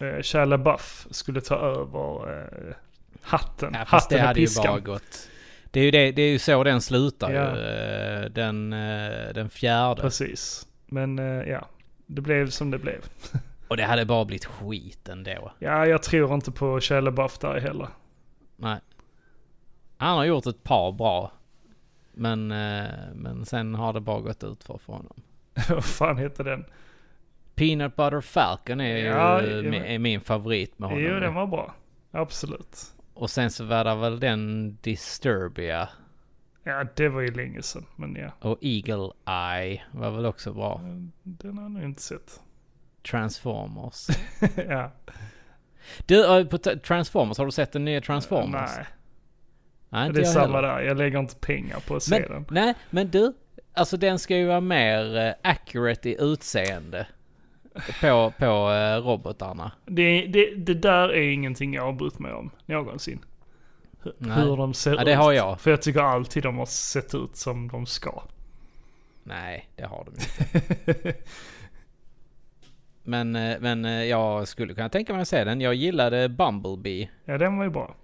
Speaker 2: eh, Shia LaBeouf, skulle ta över eh, hatten.
Speaker 1: Ja, fast det
Speaker 2: hatten och
Speaker 1: hade ju bara
Speaker 2: piskan.
Speaker 1: gått... Det är ju, det, det är ju så den slutar
Speaker 2: Ja.
Speaker 1: ju. eh, Den, eh, den fjärde.
Speaker 2: Precis. Men eh, ja, det blev som det blev.
Speaker 1: Och det hade bara blivit skit ändå.
Speaker 2: Ja, jag tror inte på Shia LaBeouf där heller.
Speaker 1: Nej. Han har gjort ett par bra. Men, eh, men sen har det bara gått ut för, för honom.
Speaker 2: Vad fan heter den?
Speaker 1: Peanut Butter Falcon är ju
Speaker 2: Ja,
Speaker 1: eh,
Speaker 2: ja.
Speaker 1: är min favorit med honom.
Speaker 2: Jo, den var bra. Absolut.
Speaker 1: Och sen så var det väl den Disturbia
Speaker 2: Ja, det var ju länge sedan. Men ja,
Speaker 1: och Eagle Eye var väl också bra.
Speaker 2: den har jag nog inte sett.
Speaker 1: Transformers. Mm.
Speaker 2: ja.
Speaker 1: Du, eh, på t- Transformers, har du sett den nya Transformers?
Speaker 2: Nej,
Speaker 1: Nej,
Speaker 2: det är
Speaker 1: jag
Speaker 2: samma
Speaker 1: heller.
Speaker 2: där. Jag lägger inte pengar på att se
Speaker 1: Men,
Speaker 2: den.
Speaker 1: nej, men du. Alltså den ska ju vara mer eh, accurate i utseende. På, på eh, robotarna.
Speaker 2: Det, det, det där är ingenting jag har brytt mig om någonsin. H-
Speaker 1: Nej.
Speaker 2: Hur de ser
Speaker 1: Ja,
Speaker 2: ut.
Speaker 1: det har jag.
Speaker 2: För jag tycker alltid de har sett ut som de ska.
Speaker 1: Nej, det har de inte. men, eh, men eh, jag skulle kunna tänka mig att se den. Jag gillade Bumblebee.
Speaker 2: Ja, den var ju bra.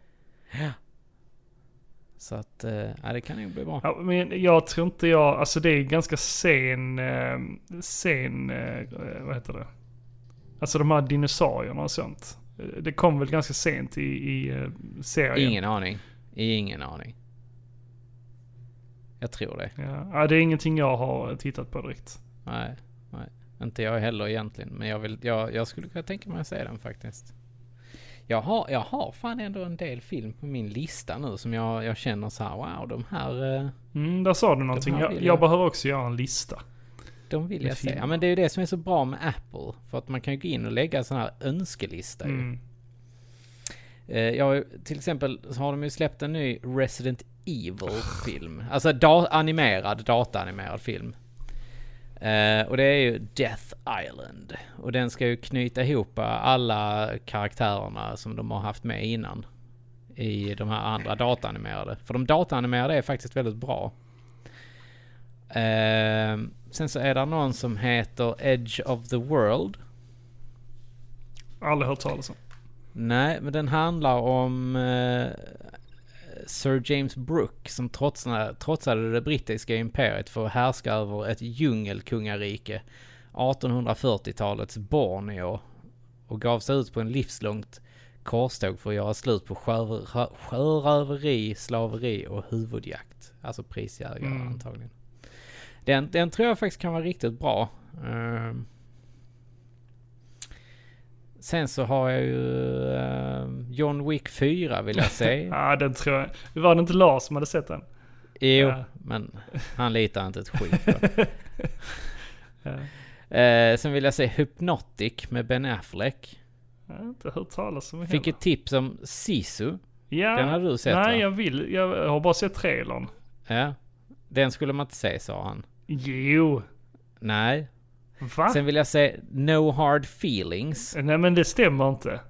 Speaker 1: Så att, eh, ja det kan ju bli bra.
Speaker 2: Ja, men jag tror inte jag, alltså det är ganska sen, eh, sen, eh, vad heter det? Alltså de här dinosaurierna och sånt. Eh, Det kom väl ganska sent i, i eh, serien?
Speaker 1: Ingen aning. Ingen aning. Jag tror det.
Speaker 2: Ja, ja, det är ingenting jag har tittat på direkt.
Speaker 1: Nej, nej. Inte jag heller egentligen. Men jag, vill, jag, jag skulle kunna tänka mig att se den faktiskt. Jag har, jag har fan ändå en del film på min lista nu som jag, jag känner så här, wow, de här, eh,
Speaker 2: Mm, där sa du någonting.
Speaker 1: här
Speaker 2: Jag,
Speaker 1: vill
Speaker 2: jag.
Speaker 1: jag.
Speaker 2: behöver också göra en lista.
Speaker 1: de vill jag se.
Speaker 2: filmer.
Speaker 1: Ja, men det är ju det som är så bra med Apple. För att man kan ju gå in och lägga en sån här önskelista ju.
Speaker 2: Mm.
Speaker 1: Eh, jag har ju, till exempel så har de ju släppt en ny Resident Evil-film. Alltså da- animerad, dataanimerad film. Eh, och det är ju Death Island. Och den ska ju knyta ihop eh, alla karaktärerna som de har haft med innan. I de här andra dataanimerade. För de dataanimerade är faktiskt väldigt bra. Eh, sen så är det någon som heter Edge of the World.
Speaker 2: Aldrig hört talas om.
Speaker 1: Nej, men den handlar om eh, Sir James Brooke som trotsade, trotsade det brittiska imperiet för att härska över ett djungelkungarike. 1840-talets Borneo och gav sig ut på en livslångt korståg för att göra slut på sjörö- sjöröveri, slaveri och huvudjakt. Alltså prisjägare
Speaker 2: Mm.
Speaker 1: antagligen. Den, den tror jag faktiskt kan vara riktigt bra. Ehm. Sen så har jag ju ehm, John Wick 4 vill jag säga.
Speaker 2: Ja, den tror jag. Var det inte Lars som hade sett den?
Speaker 1: Jo,
Speaker 2: Ja.
Speaker 1: men han litar inte ett skit på. eh, sen vill jag säga Hypnotic med Ben Affleck.
Speaker 2: Jag har inte hört talas om
Speaker 1: Fick ett tips om Sisu.
Speaker 2: ja,
Speaker 1: den hade du sett, va?
Speaker 2: Nej, jag vill. Jag har bara sett trailern.
Speaker 1: Ja. Den skulle man inte se, sa han.
Speaker 2: Jo.
Speaker 1: Nej.
Speaker 2: Va?
Speaker 1: Sen vill jag säga No Hard Feelings.
Speaker 2: Nej men det stämmer inte.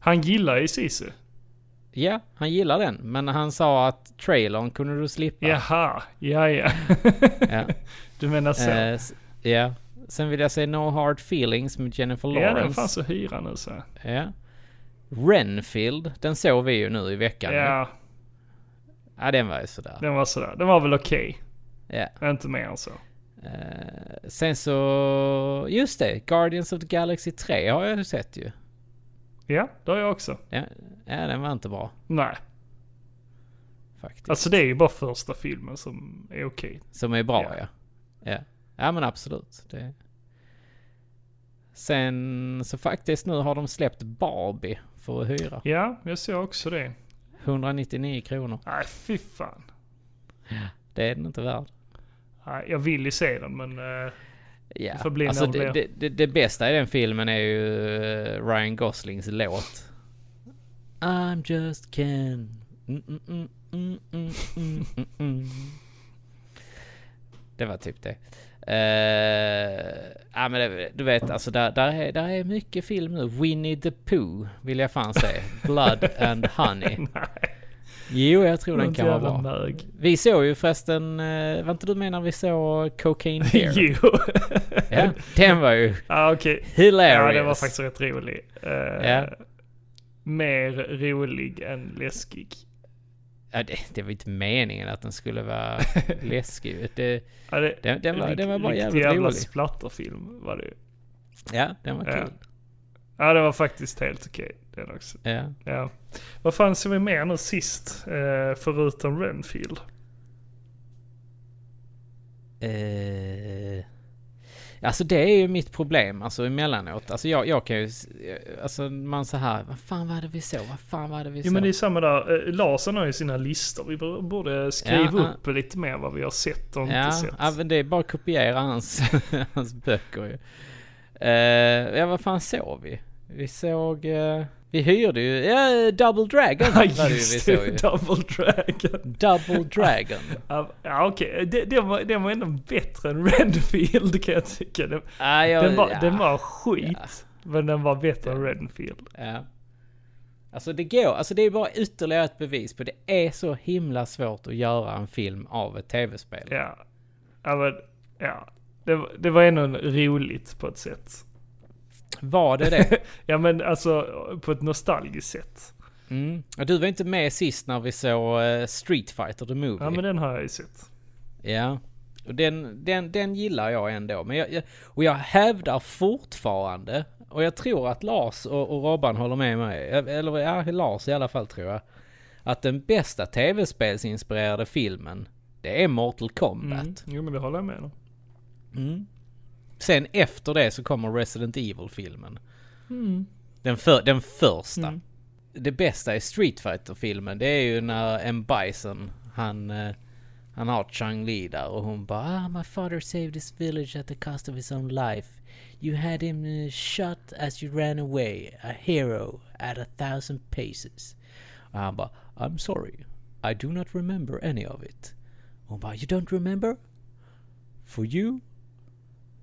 Speaker 2: Han gillar ju Sisu.
Speaker 1: Ja, han gillar den. Men han sa att trailern kunde du slippa.
Speaker 2: Jaha, ja ja.
Speaker 1: Ja.
Speaker 2: Du menar så?
Speaker 1: Eh, s- ja. Sen vill jag säga No Hard Feelings med Jennifer
Speaker 2: ja den
Speaker 1: Lawrence.
Speaker 2: fanns att hyra nu så.
Speaker 1: Ja. Renfield, den såg vi ju nu i veckan.
Speaker 2: Ja,
Speaker 1: ja den var ju sådär.
Speaker 2: den var sådär. Den var väl okej.
Speaker 1: Ja.
Speaker 2: Inte mer än så.
Speaker 1: Eh, sen så, just det, Guardians of the Galaxy 3 har jag ju sett ju.
Speaker 2: Ja, det har jag också.
Speaker 1: Ja, ja den var inte bra
Speaker 2: Nej,
Speaker 1: faktiskt.
Speaker 2: alltså det är ju bara första filmen som är okej.
Speaker 1: Som är bra
Speaker 2: Ja.
Speaker 1: ja. Ja, ja men absolut. Det... Sen så faktiskt nu har de släppt Barbie för att hyra.
Speaker 2: Ja, jag ser också det.
Speaker 1: 199 kronor.
Speaker 2: Nej, fy fan.
Speaker 1: Det är den inte värd.
Speaker 2: Nej, jag vill ju se den men... eh,
Speaker 1: Ja,
Speaker 2: får bli när
Speaker 1: alltså
Speaker 2: det
Speaker 1: det, det,
Speaker 2: blir.
Speaker 1: det, det bästa i den filmen är ju eh, Ryan Goslings låt. I'm just Ken. Mm, mm, mm, mm, mm, mm, mm, mm. Det var typ det. Eh, ja, men det, du vet, alltså där, där, är, där är mycket film nu. Winnie the Pooh vill jag fan säga. Blood and Honey. Jo, jag tror den
Speaker 2: något
Speaker 1: kan vara
Speaker 2: jävla
Speaker 1: bra.
Speaker 2: mög.
Speaker 1: Vi såg ju förresten, eh, var inte du med när vi såg Cocaine Bear?
Speaker 2: Jo.
Speaker 1: ja, den var ju
Speaker 2: ah, okej.
Speaker 1: Hilarious.
Speaker 2: Ja, den var faktiskt rätt rolig. Eh,
Speaker 1: Ja.
Speaker 2: Mer rolig än läskig.
Speaker 1: Ja, det, det var inte meningen att den skulle vara läskig. Det,
Speaker 2: Ja, det,
Speaker 1: Den- den var-
Speaker 2: rikt-
Speaker 1: den var bara
Speaker 2: riktig
Speaker 1: jävligt
Speaker 2: jävla
Speaker 1: rolig.
Speaker 2: splatterfilm var det ju.
Speaker 1: ja, den var
Speaker 2: Ja.
Speaker 1: kul.
Speaker 2: Ja, det var faktiskt helt okej den också.
Speaker 1: Ja.
Speaker 2: Ja. Vad fan såg vi mer nu sist? Eh, förutom Renfield.
Speaker 1: Eh, alltså det är ju mitt problem, alltså emellanåt. Alltså jag, jag kan ju... s- Alltså man så här, vad fan var det vi såg? Vad fan var det vi
Speaker 2: Jo
Speaker 1: såg?
Speaker 2: men det är samma där. Eh, Larsen har ju sina listor. Vi bör- borde skriva
Speaker 1: Ja,
Speaker 2: upp lite mer vad vi har sett och inte
Speaker 1: ja,
Speaker 2: sett.
Speaker 1: ja, men det är bara att kopiera hans, hans böcker ju. Eh, ja, vad fan såg vi? Vi såg... eh, vi hyrde ju... Ja, Double Dragon
Speaker 2: Ja,
Speaker 1: var det ju vi
Speaker 2: just
Speaker 1: såg ju.
Speaker 2: det. Double Dragon.
Speaker 1: Double Dragon.
Speaker 2: Ja, ja, okej. Det, det, var, det var ändå bättre än Renfield kan jag tycka. Den,
Speaker 1: Ah, jag,
Speaker 2: den, var,
Speaker 1: ja.
Speaker 2: den var skit.
Speaker 1: Ja.
Speaker 2: Men den var bättre än Renfield.
Speaker 1: Ja. Alltså det går, alltså det är bara ytterligare ett bevis på det är så himla svårt att göra en film av ett tv-spel.
Speaker 2: Ja. Ja, men, ja. Det, var- det var ändå roligt på ett sätt.
Speaker 1: Var det det?
Speaker 2: Ja men alltså på ett nostalgiskt sätt.
Speaker 1: Mm. Och du var inte med sist när vi såg eh, Street Fighter the Movie.
Speaker 2: Ja men den har jag ju sett.
Speaker 1: Ja. Och den, den, den gillar jag ändå. Men jag, jag, och jag hävdar fortfarande, och jag tror att Lars och, och Robban håller med mig, eller ja, Lars i alla fall tror jag, att den bästa tv-spelsinspirerade filmen, det är Mortal Kombat.
Speaker 2: Mm. Jo men det håller jag med om.
Speaker 1: Sen efter det så kommer Resident Evil-filmen. Den, för, den första. Det bästa i Street Fighter-filmen det är ju när en Bison, han, eh, han har Chang Li där och hon bara ah, My father saved this village at the cost of his own life. You had him eh, shot as you ran away, a hero at a thousand paces. Och han bara I'm sorry, I do not remember any of it. Och hon bara You don't remember? For you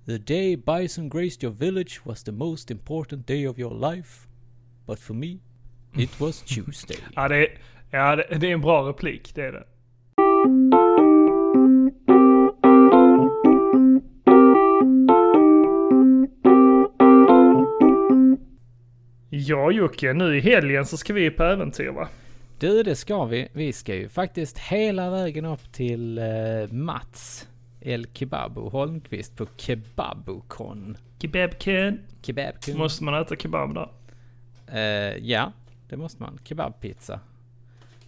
Speaker 1: The day Bison graced your village was the most important day of your life. But for me, it was Tuesday.
Speaker 2: Ja, det, är- ja det, det är en bra replik, det är det. Ja Jocke, nu i helgen så ska vi på äventyr va?
Speaker 1: du, det ska vi. Vi ska ju faktiskt hela vägen upp till eh, Mats El Kebabo Holmqvist på Kebabocon.
Speaker 2: Kebabken.
Speaker 1: Kebabcon.
Speaker 2: Måste man äta kebab där?
Speaker 1: Eh, ja, det måste man. Kebabpizza.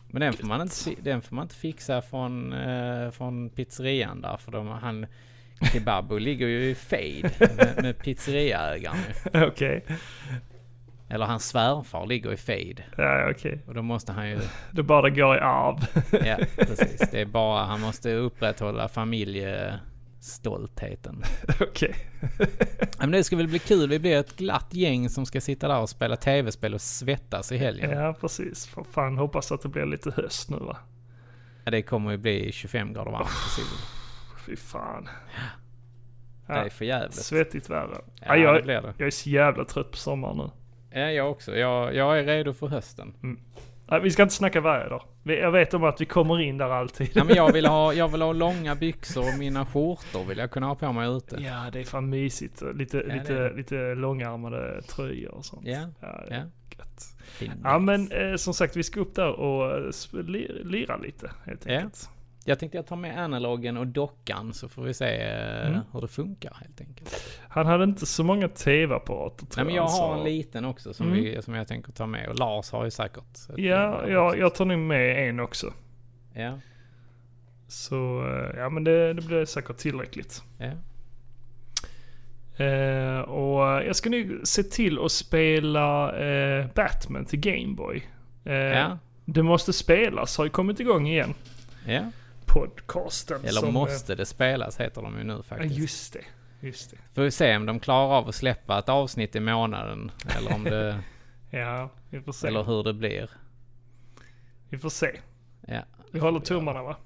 Speaker 1: Men den får, man inte, fi- den får man inte fixa från, eh, från pizzerian där, för de, han... Kebabo ligger ju i fade med, med pizzeriaägaren ju.
Speaker 2: Okej.
Speaker 1: Eller hans svärfar ligger i fade.
Speaker 2: Ja, okej.
Speaker 1: Och då måste han ju...
Speaker 2: Det bara går i arv.
Speaker 1: Ja, precis. Det är bara... Han måste upprätthålla familjestoltheten.
Speaker 2: okej.
Speaker 1: Ja, Men det ska väl bli kul. Vi blir ett glatt gäng som ska sitta där och spela tv-spel och svettas i helgen.
Speaker 2: Ja, precis. För fan, hoppas att det blir lite höst nu va?
Speaker 1: Ja. Det kommer ju bli 25 grader varmt i solen.
Speaker 2: Fy fan.
Speaker 1: Det är för jävligt.
Speaker 2: Svettigt värre. Ja,
Speaker 1: Ja, det
Speaker 2: jag,
Speaker 1: blir det.
Speaker 2: jag är så jävla trött på sommaren nu.
Speaker 1: Ja, jag också. Jag, jag är redo för hösten.
Speaker 2: Nej, vi ska inte snacka väder. Vi- Jag vet om att vi kommer in där alltid.
Speaker 1: Ja, men jag, vill ha, jag vill ha långa byxor och mina skjortor vill jag kunna ha på mig ute.
Speaker 2: Ja, det är fan mysigt. Lite,
Speaker 1: det är
Speaker 2: lite, lite långärmade tröjor och sånt.
Speaker 1: Ja,
Speaker 2: det är
Speaker 1: ja.
Speaker 2: rätt. Ja men eh, som sagt vi ska upp där och eh, sp- li- lira lite helt
Speaker 1: Ja.
Speaker 2: enkelt.
Speaker 1: Jag tänkte jag tar med analogen och dockan så får vi se eh,
Speaker 2: Mm.
Speaker 1: hur det funkar helt enkelt.
Speaker 2: Han hade inte så många tv-apparater
Speaker 1: Nej,
Speaker 2: tror
Speaker 1: men jag
Speaker 2: han
Speaker 1: har
Speaker 2: sa.
Speaker 1: en liten också som, vi, som jag tänker ta med och Lars har ju säkert. ett
Speaker 2: Mm. Ja,
Speaker 1: nummer
Speaker 2: ja
Speaker 1: också.
Speaker 2: jag tar nog med en också.
Speaker 1: ja.
Speaker 2: Så eh, ja men det, det blir säkert tillräckligt.
Speaker 1: Ja.
Speaker 2: Eh, och eh, jag ska nu se till att spela eh, Batman till Gameboy. Eh,
Speaker 1: Ja.
Speaker 2: Det måste spelas har ju kommit igång igen.
Speaker 1: ja.
Speaker 2: Podcasten.
Speaker 1: Eller
Speaker 2: som, eh,
Speaker 1: måste det spelas heter de ju nu
Speaker 2: Ja,
Speaker 1: faktiskt.
Speaker 2: just det. Just det.
Speaker 1: Får vi se om de klarar av att släppa ett avsnitt i månaden. Eller, om det,
Speaker 2: Ja, vi får se.
Speaker 1: eller hur det blir.
Speaker 2: Vi får se.
Speaker 1: Ja.
Speaker 2: Vi håller tummarna va?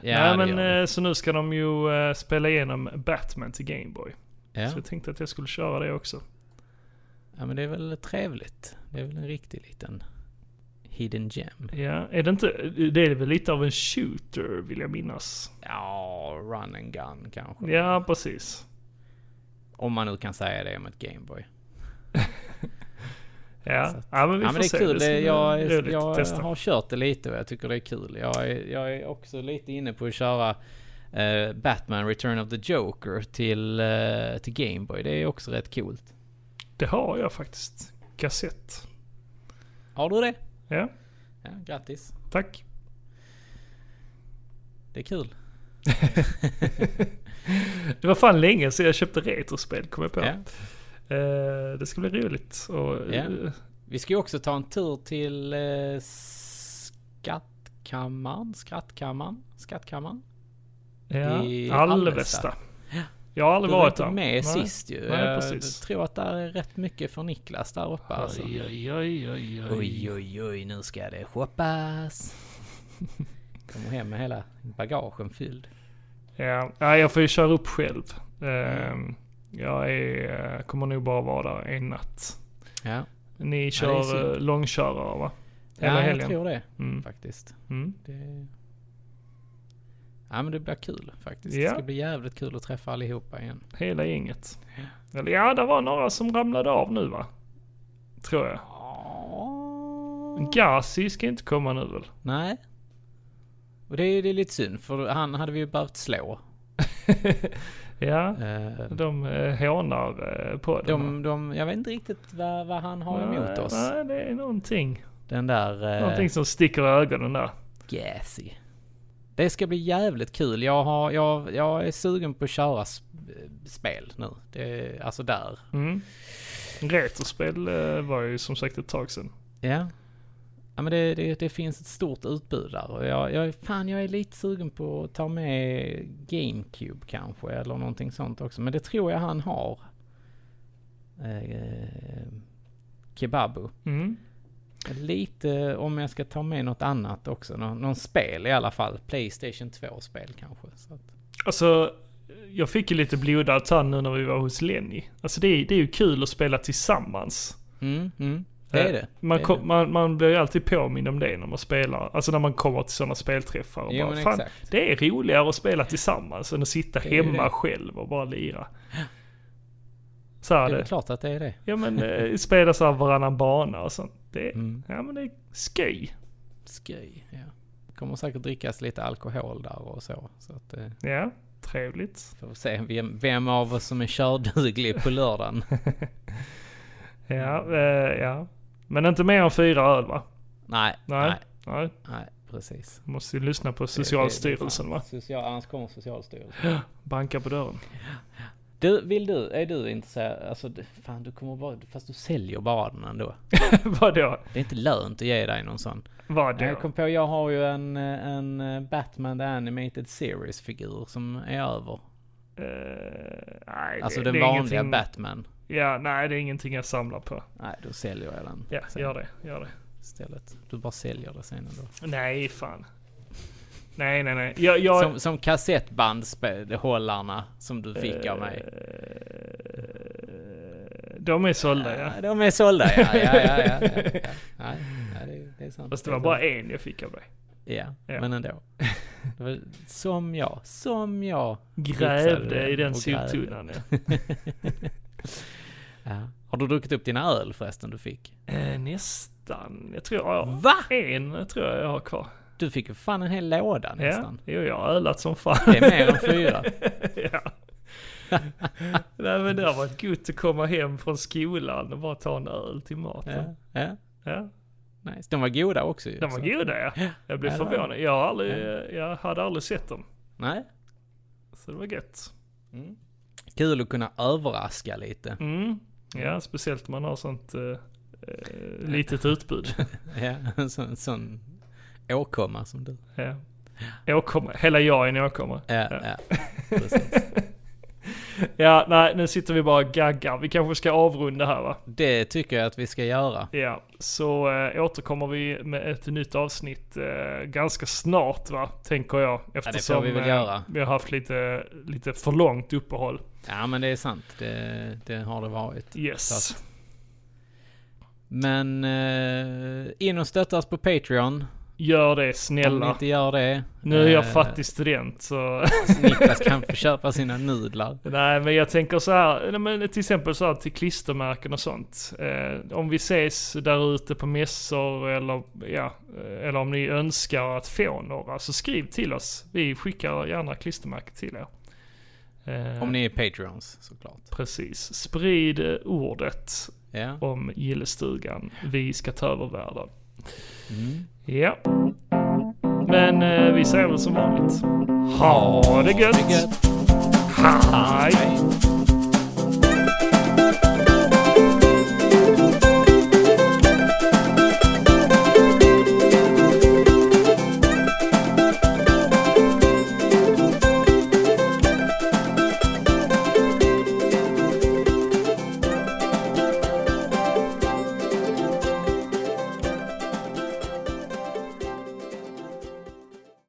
Speaker 1: Ja,
Speaker 2: Nej
Speaker 1: det
Speaker 2: men
Speaker 1: gör vi.
Speaker 2: eh, så nu ska de ju eh, spela igenom Batman till Gameboy.
Speaker 1: ja.
Speaker 2: Så jag tänkte att jag skulle köra det också.
Speaker 1: ja, men det är väl trevligt. Det är väl en riktig liten hidden gem.
Speaker 2: Ja, är det inte... Det är väl lite av en shooter vill jag minnas.
Speaker 1: Ja, run and gun kanske.
Speaker 2: Ja, precis.
Speaker 1: Om man nu kan säga det om ett Gameboy.
Speaker 2: Ja,
Speaker 1: Så att-
Speaker 2: ja men vi
Speaker 1: Ja
Speaker 2: får
Speaker 1: men det
Speaker 2: se.
Speaker 1: är kul.
Speaker 2: ska
Speaker 1: Det
Speaker 2: bli
Speaker 1: jag
Speaker 2: roligt
Speaker 1: jag
Speaker 2: att testa.
Speaker 1: har kört det lite och jag tycker det är kul. Jag är, jag är också lite inne på att köra eh, Batman Return of the Joker till, eh, till Gameboy. Det är också rätt coolt.
Speaker 2: Det har jag faktiskt. Kassett.
Speaker 1: Har du det?
Speaker 2: Ja,
Speaker 1: Ja, grattis.
Speaker 2: tack.
Speaker 1: Det är kul.
Speaker 2: Det var fan länge sedan jag köpte retrospel kom jag på.
Speaker 1: Ja.
Speaker 2: Eh, det ska bli roligt. Och,
Speaker 1: Ja.
Speaker 2: eh,
Speaker 1: Vi ska ju också ta en tur till eh, Skattkammaren, Skrattkammaren, Skattkammaren.
Speaker 2: Ja,
Speaker 1: i
Speaker 2: Alvesta.
Speaker 1: Alvesta.
Speaker 2: Jag har
Speaker 1: Du
Speaker 2: aldrig
Speaker 1: var
Speaker 2: varit
Speaker 1: inte
Speaker 2: där.
Speaker 1: med
Speaker 2: Nej.
Speaker 1: sist ju.
Speaker 2: Nej,
Speaker 1: jag
Speaker 2: precis.
Speaker 1: tror att det är rätt mycket för Niklas där uppe alltså.
Speaker 2: Oj, oj, oj, oj,
Speaker 1: Oj, oj, oj, nu ska det shoppas. Kommer hem med hela bagagen fylld.
Speaker 2: Ja, nej, jag får ju köra upp själv.
Speaker 1: Mm.
Speaker 2: Ehm, jag är, eh, kommer nog bara vara där en natt.
Speaker 1: Ja,
Speaker 2: Ni
Speaker 1: det är
Speaker 2: kör
Speaker 1: synd.
Speaker 2: eh, långkörare va? Hela
Speaker 1: ja jag
Speaker 2: helgen.
Speaker 1: tror det
Speaker 2: Mm.
Speaker 1: faktiskt.
Speaker 2: Mm.
Speaker 1: Det... Ja, men det blir kul faktiskt.
Speaker 2: Ja.
Speaker 1: Det ska bli jävligt kul att träffa allihopa igen.
Speaker 2: Hela gänget. Eller ja, det var några som ramlade av nu va? Tror jag. Gazi ska inte komma nu väl?
Speaker 1: Nej. Och det är, det är lite synd, för han hade vi ju behövt slå.
Speaker 2: Ja,
Speaker 1: Eh,
Speaker 2: de eh, hånar eh, på Eh,
Speaker 1: De, de, jag vet inte riktigt vad, vad han har emot oss.
Speaker 2: Nej, det är någonting.
Speaker 1: Den där... eh,
Speaker 2: Någonting som sticker i ögonen där.
Speaker 1: gassy. Det ska bli jävligt kul. Jag, har, jag, jag är sugen på att köra sp- spel nu. Det, alltså där.
Speaker 2: Mm. Retrospel eh, var ju som sagt ett tag sedan.
Speaker 1: Ja. Ja men det, det, det finns ett stort utbud där och jag, jag, fan jag är lite sugen på att ta med GameCube kanske eller någonting sånt också. Men det tror jag han har. Eh, Kebabu.
Speaker 2: Mm.
Speaker 1: Lite om jag ska ta med något annat också. Nå, någon spel i alla fall. Playstation 2-spel kanske. Så att,
Speaker 2: Alltså, jag fick ju lite blodad tand nu när vi var hos Lenny. Alltså det är, det är ju kul att spela tillsammans.
Speaker 1: mm, mm. Det är
Speaker 2: Eh,
Speaker 1: det.
Speaker 2: Man,
Speaker 1: det är
Speaker 2: kom-
Speaker 1: det.
Speaker 2: Man, man blir ju alltid påmind om det när man spelar. Alltså när man kommer till sådana spelträffar. Och
Speaker 1: Jo,
Speaker 2: bara,
Speaker 1: men
Speaker 2: Fan,
Speaker 1: exakt.
Speaker 2: det är roligare att spela tillsammans än att sitta
Speaker 1: är ju
Speaker 2: hemma
Speaker 1: det.
Speaker 2: själv och bara lira. Så här
Speaker 1: Det är
Speaker 2: det.
Speaker 1: väl klart att det är det.
Speaker 2: Ja men eh, spela så här varannan bana och sånt. Det,
Speaker 1: Mm.
Speaker 2: Ja men det är skoj.
Speaker 1: Skoj. Ja. Det kommer säkert drickas lite alkohol där och så. Så att, eh,
Speaker 2: Ja, trevligt.
Speaker 1: får vi se vem, vem av oss som är körduglig på lördagen.
Speaker 2: Ja,
Speaker 1: Mm.
Speaker 2: eh, ja. Men inte mer än fyra öl va?
Speaker 1: nej,
Speaker 2: Nej.
Speaker 1: nej,
Speaker 2: Nej.
Speaker 1: nej, precis.
Speaker 2: Måste ju lyssna på
Speaker 1: Det-
Speaker 2: Socialstyrelsen
Speaker 1: det- det är
Speaker 2: va?
Speaker 1: fan. Social, annars kommer Socialstyrelsen.
Speaker 2: Banka på dörren.
Speaker 1: Du, vill du, är du intresserad, alltså det- fan du kommer bara, fast du säljer bara den ändå.
Speaker 2: Vadå?
Speaker 1: Det är inte lönt att ge dig någon sån.
Speaker 2: Vadå?
Speaker 1: Jag kom på, jag har ju en, eh, en eh, Batman The Animated Series-figur som är över.
Speaker 2: Eh, nej,
Speaker 1: Alltså
Speaker 2: det,
Speaker 1: den
Speaker 2: det är
Speaker 1: vanliga
Speaker 2: ingenting-
Speaker 1: Batman.
Speaker 2: Ja, nej det är ingenting jag samlar på.
Speaker 1: Nej, då säljer jag den.
Speaker 2: Ja,
Speaker 1: sen.
Speaker 2: gör det, gör det.
Speaker 1: istället. Du bara säljer det sen ändå.
Speaker 2: Nej, fan. Nej, nej, nej. Jag, jag,
Speaker 1: Som, som kassettbandshållarna som du fick av
Speaker 2: Eh,
Speaker 1: mig.
Speaker 2: De är sålda ja.
Speaker 1: Ja, de är sålda ja. ja, ja, ja, ja, ja. Nej, ja det, det är sant.
Speaker 2: Fast det var bara en jag fick av dig.
Speaker 1: Ja,
Speaker 2: Ja.
Speaker 1: men ändå. Det var som jag, som jag. fixade
Speaker 2: Grävde i den
Speaker 1: och grävde.
Speaker 2: soptunnan ja.
Speaker 1: Ja. Har du druckit upp dina öl förresten du fick?
Speaker 2: Eh, nästan. Jag tror jag har
Speaker 1: Va?
Speaker 2: en tror jag jag har kvar.
Speaker 1: Du fick ju fan en hel låda
Speaker 2: Ja,
Speaker 1: nästan.
Speaker 2: jo, jag har ölat som fan.
Speaker 1: Det är mer än fyra.
Speaker 2: ja. Nej men det har varit gott att komma hem från skolan och bara ta en öl till maten.
Speaker 1: Ja. Ja.
Speaker 2: Ja.
Speaker 1: Nice. De var goda också ju.
Speaker 2: De var
Speaker 1: så.
Speaker 2: goda ja. Jag blev
Speaker 1: Ja, det var
Speaker 2: förvånad. Jag, har aldrig, jag hade aldrig sett dem.
Speaker 1: Nej.
Speaker 2: Så det var gött.
Speaker 1: Kul att kunna överraska lite.
Speaker 2: Mm. Ja, speciellt om man har sånt eh, eh, litet utbud.
Speaker 1: Ja. En sån, sån åkomma som du.
Speaker 2: ja. Åkomma. Hela jag är en åkomma.
Speaker 1: Ja, ja. Precis.
Speaker 2: Ja, nej, nu sitter vi bara och gaggar. Vi kanske ska avrunda här va?
Speaker 1: Det tycker jag att vi ska göra.
Speaker 2: Ja, så eh, återkommer vi med ett nytt avsnitt eh, ganska snart va? Tänker jag. Eftersom
Speaker 1: vi väl
Speaker 2: eh,
Speaker 1: göra.
Speaker 2: vi har haft lite, lite för långt uppehåll.
Speaker 1: Ja men det är sant. Det, det har det varit.
Speaker 2: Yes.
Speaker 1: Så att- Men eh, in och stötta oss på Patreon.
Speaker 2: Gör det
Speaker 1: Om ni
Speaker 2: snälla.
Speaker 1: inte gör det.
Speaker 2: Nu är jag
Speaker 1: eh,
Speaker 2: fattig student så...
Speaker 1: Niklas kan få köpa sina nudlar.
Speaker 2: Nej men jag tänker så här, nej, men till exempel så här till klistermärken och sånt. Eh, om vi ses där ute på mässor eller, ja, eh, eller om ni önskar att få några så skriv till oss. Vi skickar gärna klistermärken till er. Eh,
Speaker 1: Om ni är Patreons såklart.
Speaker 2: Precis. Sprid eh, ordet
Speaker 1: Ja.
Speaker 2: om gillestugan. Vi ska ta över världen. Mm. Ja. Men eh, vi säger väl som vanligt. Ha det gött!
Speaker 1: Gött.
Speaker 2: Hej!
Speaker 1: Hej.